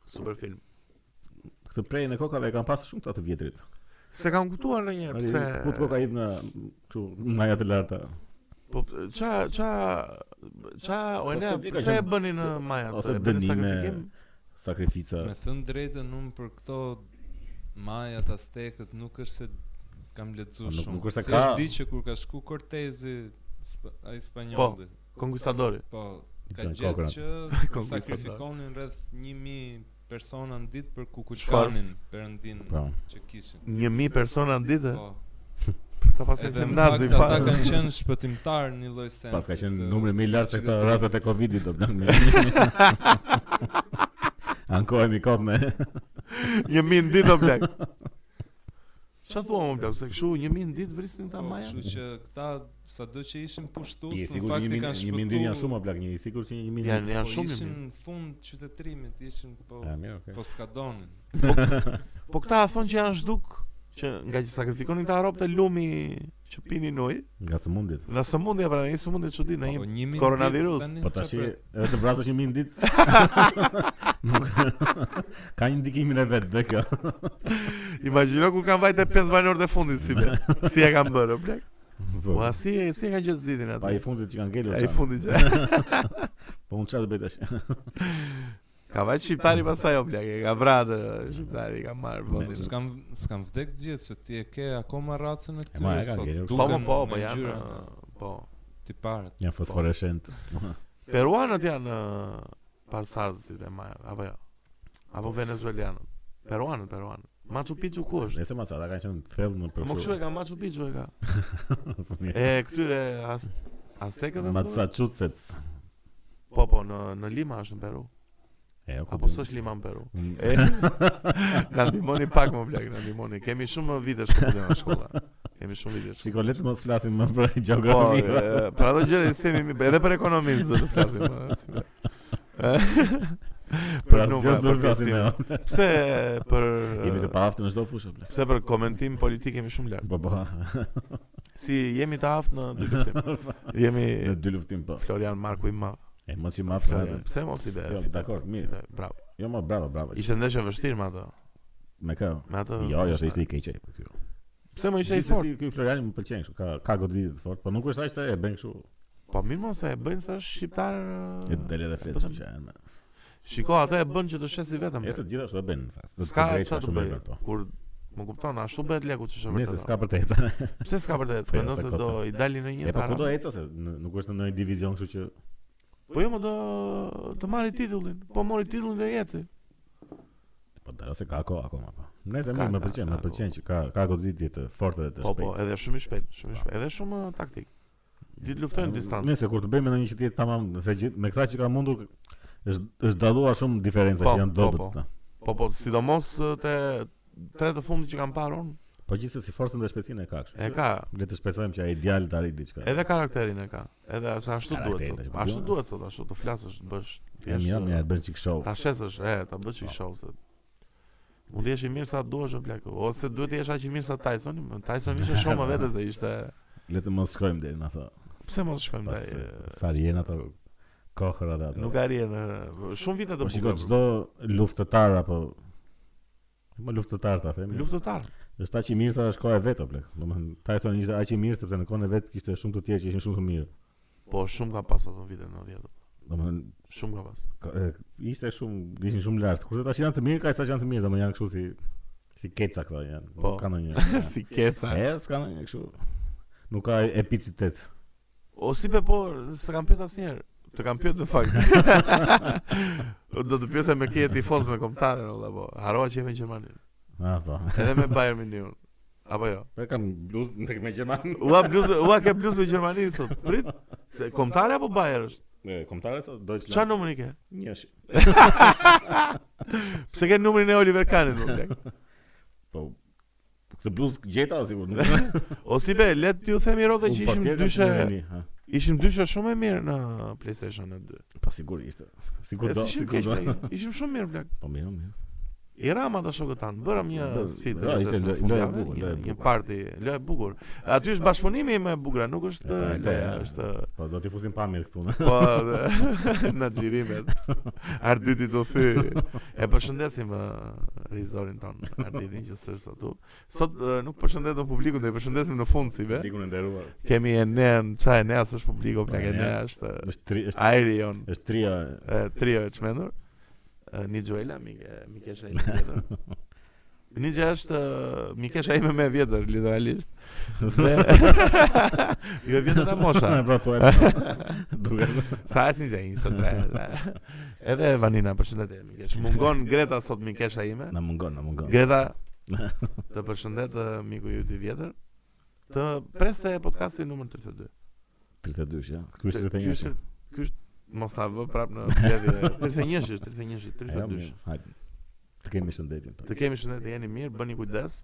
B: super film.
A: Këtë prejnë e kokave e kanë pasur shumë këta të vjetrit.
B: Se kam kuptuar ndonjëherë pse.
A: Ku të koka hidh në kështu në ajat e larta.
B: Po ça ça ça
A: Po,
B: o ne
A: se di ka
B: pse
A: që-
B: e bënin në Maja
A: ose
B: e bënin
A: dënime.
B: sakrifikim?
A: Sakrifica.
C: Me thënë drejtën unë për këto majat aztekët nuk është se kam lexuar
A: Po, nuk-
C: shumë.
A: nuk është se
C: Se
A: ka-
C: di që kur ka shku Cortezi sp ai spanjolli.
B: Konkustadori.
C: Po, ka
A: Kanë
C: gjetë
A: kokrat.
C: që
B: Konkustador.
C: sakrifikonin rreth 1000 persona në ditë për
B: Çfarë?
C: kukulkanin perëndin
A: Po.
C: që kishin.
B: 1000 persona në ditë,
C: Po.
B: ka pasur
C: Edhe
B: që
C: në
B: nazi
C: fakt ata
B: fare.
C: kanë qenë shpëtimtar në një lloj sensi.
A: Pas ka
C: të-
A: qenë numri më i lartë se këto
C: qytetarëve.
A: rastet e Covidit do blan. Ankohemi kot me
B: 1000 në ditë o blek. Çfarë thua më blek? Se kështu 1000 në ditë vrisin ta
C: Po,
B: Maja.
C: Kështu që këta sado që ishin pushtues,
A: Je
C: në
A: sigurt që
C: fakt i
A: një
C: kanë
A: min-
C: shpëtuar.
A: një mindin janë shumë o plak, një sigurt që një mindin.
B: Janë janë
C: po,
B: shumë
C: ishin
B: mirë.
C: në fund qytetërimit, ishin po
A: Ah, mirë, okay.
C: po skadonin.
B: Po këta thonë që janë zhduk, që nga që sakrifikonin këta arabët e lumi që pinin ujë,
A: Nga sëmundjet.
B: në sëmundje pra, një sëmundje çuditshme,
C: Po,
B: një
C: një
B: koronavirus.
A: Po tash edhe të vrasësh një min ditë. Nuk ka një ndikimin e vet dhe kjo.
B: Imagjino ku kanë vajtë 5 banorët e fundit si be. Si e kanë bërë, o blek.
A: Po,
B: Po si e si e kanë gjetë zidin atë.
A: Pa i fundit që kanë ngelur.
B: Ai
A: çan.
B: fundi që.
A: Po unë çfarë do bëj tash?
B: Ka vaj shqiptari pastaj o blek, e ka vratë shqiptari ka marr vendin.
C: Po, S'kam s'kam vdek gjithë se ti e ke akoma racën e
A: ma, e
C: këtyre
A: ka ngelur.
B: Po po
C: Duken
B: po, po
C: me
B: janë
C: ngjyra,
B: po.
C: tiparet.
A: Janë fosforeshent.
B: Peruanët janë parsardhësit e maja, apo jo. Apo venezuelanët. Peruanët, peruanët. Machu Picchu ku është?
A: Nëse masa ata kanë qenë thellë në për.
B: Po, Më kështu e ka Machu Picchu e ka. E këtyre az aztekëve? më duhet?
A: Massachusetts.
B: Po po, në në Lima është në Peru.
A: E, o, ku
B: Apo
A: di.
B: s'është Lima në Peru?
A: Mm,
B: E, na ndihmoni pak më plak, na ndihmoni. Kemi shumë vite shkollë në shkolla. Kemi shumë vite shkollë.
A: Shiko, le të mos flasim më për
B: Po,
A: gjeografi.
B: e, për ato gjëra që jemi edhe për ekonominë do të flasim. ë, si me.
A: Për Pra, asgjë
B: numra,
A: s'do të
B: për
A: flasim
B: pjestim.
A: më.
B: Pse për
A: Jemi të paaftë në çdo fushë. ble.
B: pse për komentim politik jemi shumë lart.
A: Po po.
B: Si jemi të aftë në dy luftim. Jemi
A: Në dy luftim po.
B: Florian Marku i madh.
A: E mos i maf
B: Florian,
A: flasim.
B: pse mos i be?
A: Jo,
B: fitoj,
A: dakord, mirë.
B: fitoj, Bravo.
A: Jo, më bravo, bravo.
B: Ishte ndeshje vështirë me ato.
A: me kë?
B: Me ato.
A: Jo, jo, se ishte i keq ai për kjo.
B: Pse më ishte i
A: Gjithsesi,
B: fortë?
A: Ky Floriani më pëlqen kështu, ka ka goditë të fortë, po nuk është ai se e bën kështu.
B: Po mirë mos e bëjnë sa është shqiptar. ë,
A: E del edhe flet
B: po,
A: kështu që janë.
B: Shiko, ata e bën që të shesi vetëm.
A: Ese të gjitha kështu e bën në fakt.
B: Ska çfarë të
A: shumë
B: bëj.
A: mirë, po.
B: Kur më kupton, ashtu bëhet leku që është
A: Nëse
B: vërtet.
A: s'ka vërtetë.
B: Pse s'ka vërtet?
A: Po, ja,
B: Mendon
A: se
B: se
A: ka
B: do
A: të-
B: i dalin në
A: E
B: një
A: po ku do
B: para.
A: ecë se n- nuk është në ndonjë divizion, kështu që
B: Po jo, më do të marri titullin. Po mori titullin dhe jeci.
A: po dalo se ka kohë akoma po. Nëse
B: Ka,
A: mirë, më
B: ka,
A: pëlqen,
B: ka
A: më pëlqen që ka ka goditje të fortë dhe të
B: Po po,
A: shpejtë.
B: edhe shumë i shpejt, shumë i shpejt, edhe shumë ë, taktik. Di të luftojnë distancë.
A: Nëse kur të bëjmë ndonjë që ti tamam, nëse gjithë me këta që ka mundur është është dalluar shumë diferenca
B: Po,
A: që janë
B: po,
A: dobët
B: po.
A: këta.
B: Po po, sidomos ë, te tre të fundit që kam parë unë,
A: Po gjithsesi forcën dhe shpejtësinë e ka kështu.
B: E ka,
A: Le të shpresojmë që ai djalë të arrijë diçka.
B: edhe karakterin e ka. Edhe se ashtu duhet
A: Karakterin,
B: sot.
A: po,
B: Ashtu
A: duhet.
B: duhet sot, ashtu të flasësh, të bësh. të
A: e
B: jesh,
A: mira,
B: uh,
A: mira, të bën çik show.
B: Ta shesësh, e, ta bësh
A: Po.
B: i show se. Mund të jesh i mirë sa duash në plak. Ose duhet të jesh aq i mirë sa Tyson. Tyson ishte shumë më vetë se ishte.
A: Le të mos shkojmë deri në ato.
B: Pse mos shkojmë
A: Pas
B: ndaj?
A: sa rien ato kohëra dhe ato.
B: Nuk arjen. e, Shumë vite
A: Po
B: të
A: shiko
B: bukura.
A: çdo luftëtar apo Më luftëtar ta themi.
B: Luftëtar.
A: Është aq i mirë sa është koha e vet o plak. Domethënë Tyson ishte aq i mirë sepse në kohën e vet kishte shumë të tjerë që ishin shumë të mirë.
B: Po shumë ka pas ato vite 90.
A: Domethënë
B: Shumë ka pas.
A: ka- e, ishte shumë ishin shumë lart. Kurse tash janë të mirë, ka sa që janë të mirë, domethënë janë kështu si si keca këto janë.
B: Po.
A: Nuk ka ndonjë.
B: si keca.
A: E, s'ka ndonjë kështu. Nuk ka epicitet.
B: O si be po, s'të kam pyet asnjëherë. Të kam pyet në fakt. Do të pyesa me kje tifoz me kombëtarën valla po. Harrova që jemi në Gjermani.
A: Ah, po.
B: Edhe me Bayern Munich. Apo jo.
A: Po kam bluzë tek me Gjerman.
B: Ua bluzë, ua ke bluzë me Gjermani sot. Prit. Se kombëtare apo Bayern është?
A: E, Komtare sa Deutschland.
B: Çfarë numri ke?
A: Një sh-
B: Pse ke numrin e Oliver Kanit më blek?
A: Po këtë bluzë gjeta sigur. Nuk
B: O si be, le t'ju themi rove që
A: Unë
B: ishim
A: patjetër
B: dyshe,
A: që më vini, ha.
B: ishim dyshe shumë e mirë në PlayStation e 2.
A: Po sigurisht. Sigur
B: E
A: do,
B: si ishim
A: sigur
B: keq,
A: do.
B: blek. ishim shumë mirë blek.
A: Po mirë, mirë.
B: I rama ata shokët tanë, bërëm një
A: Do-
B: sfidë.
A: do, ishte lo-
B: PlayStation në
A: loja e
B: fundjavë,
A: bukur,
B: një-
A: loja e
B: Një
A: bukur.
B: parti, lojë e bukur. Aty është bashkëpunimi më e bukur, nuk është
A: E,
B: eh,
A: e,
B: loja,
A: e.
B: është eh,
A: Po do t'i fusim pamjet këtu. ne.
B: po dhe- në xhirimet. Arditi do thy. E përshëndesim eh, rizorin ton, Arditin që s'është atu. Sot eh, nuk përshëndetëm publikun, do i përshëndesim në fund si be.
A: Dikun e nderuar.
B: Kemi e nen, qa e neas është publiko, plak e
A: Enea.
B: nea është
A: Është tri është
B: aeri jon,
A: është tria
B: e, trio e çmendur. E, Një gjuela, mi kesha ime vjetër. Një gjë është e, mi kesha ime me vjetër, literalisht. Dhe... ju e vjetër ta mosha.
A: E, pra po.
B: Ε.
A: e- Duket.
B: Sa është një gjë, 23. dhe- Edhe Vanina, përshëndetje, mi kesh. Mungon Greta sot mi kesha ime.
A: Na mungon, na mungon.
B: Greta, të përshëndet e, miku ju dy vjetër. Të preste podcastin numër 32.
A: 32 ja. Ky është
B: Ky
A: 31.
B: është- Ky është mos ta vë prap në bledhje. 31 është 31 është
A: Ja,
B: 32.
A: mirë, Hajde. Të kemi shëndetin. po.
B: Të kemi shëndet, jeni mirë, bëni kujdes.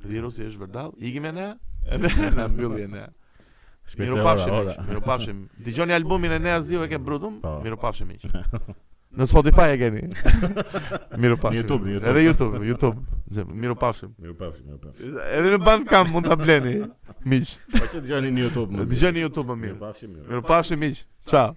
B: Virusi është vërdall. Ikim e ne, na mbylli e ne.
A: Shpejt
B: Miru
A: se
B: pafshim,
A: ora, ora.
B: miq, miru pafshim. Dëgjoni albumin e Nea Ziu e ke Brutum,
A: Po.
B: miru pafshim miq. Në Spotify e keni. Miru
A: Në
B: pafshim.
A: YouTube, në YouTube.
B: Edhe Ε, YouTube, YouTube. Zë, Miru pafshim.
A: Miru pafshim, miru pafshim.
B: Edhe në Bandcamp mund ta bleni, miq.
A: Po që dëgjoni në YouTube. më.
B: Dëgjoni YouTube më
A: Miru
B: mirë.
A: pafshim, miru.
B: Miru pafshim miq. Ciao.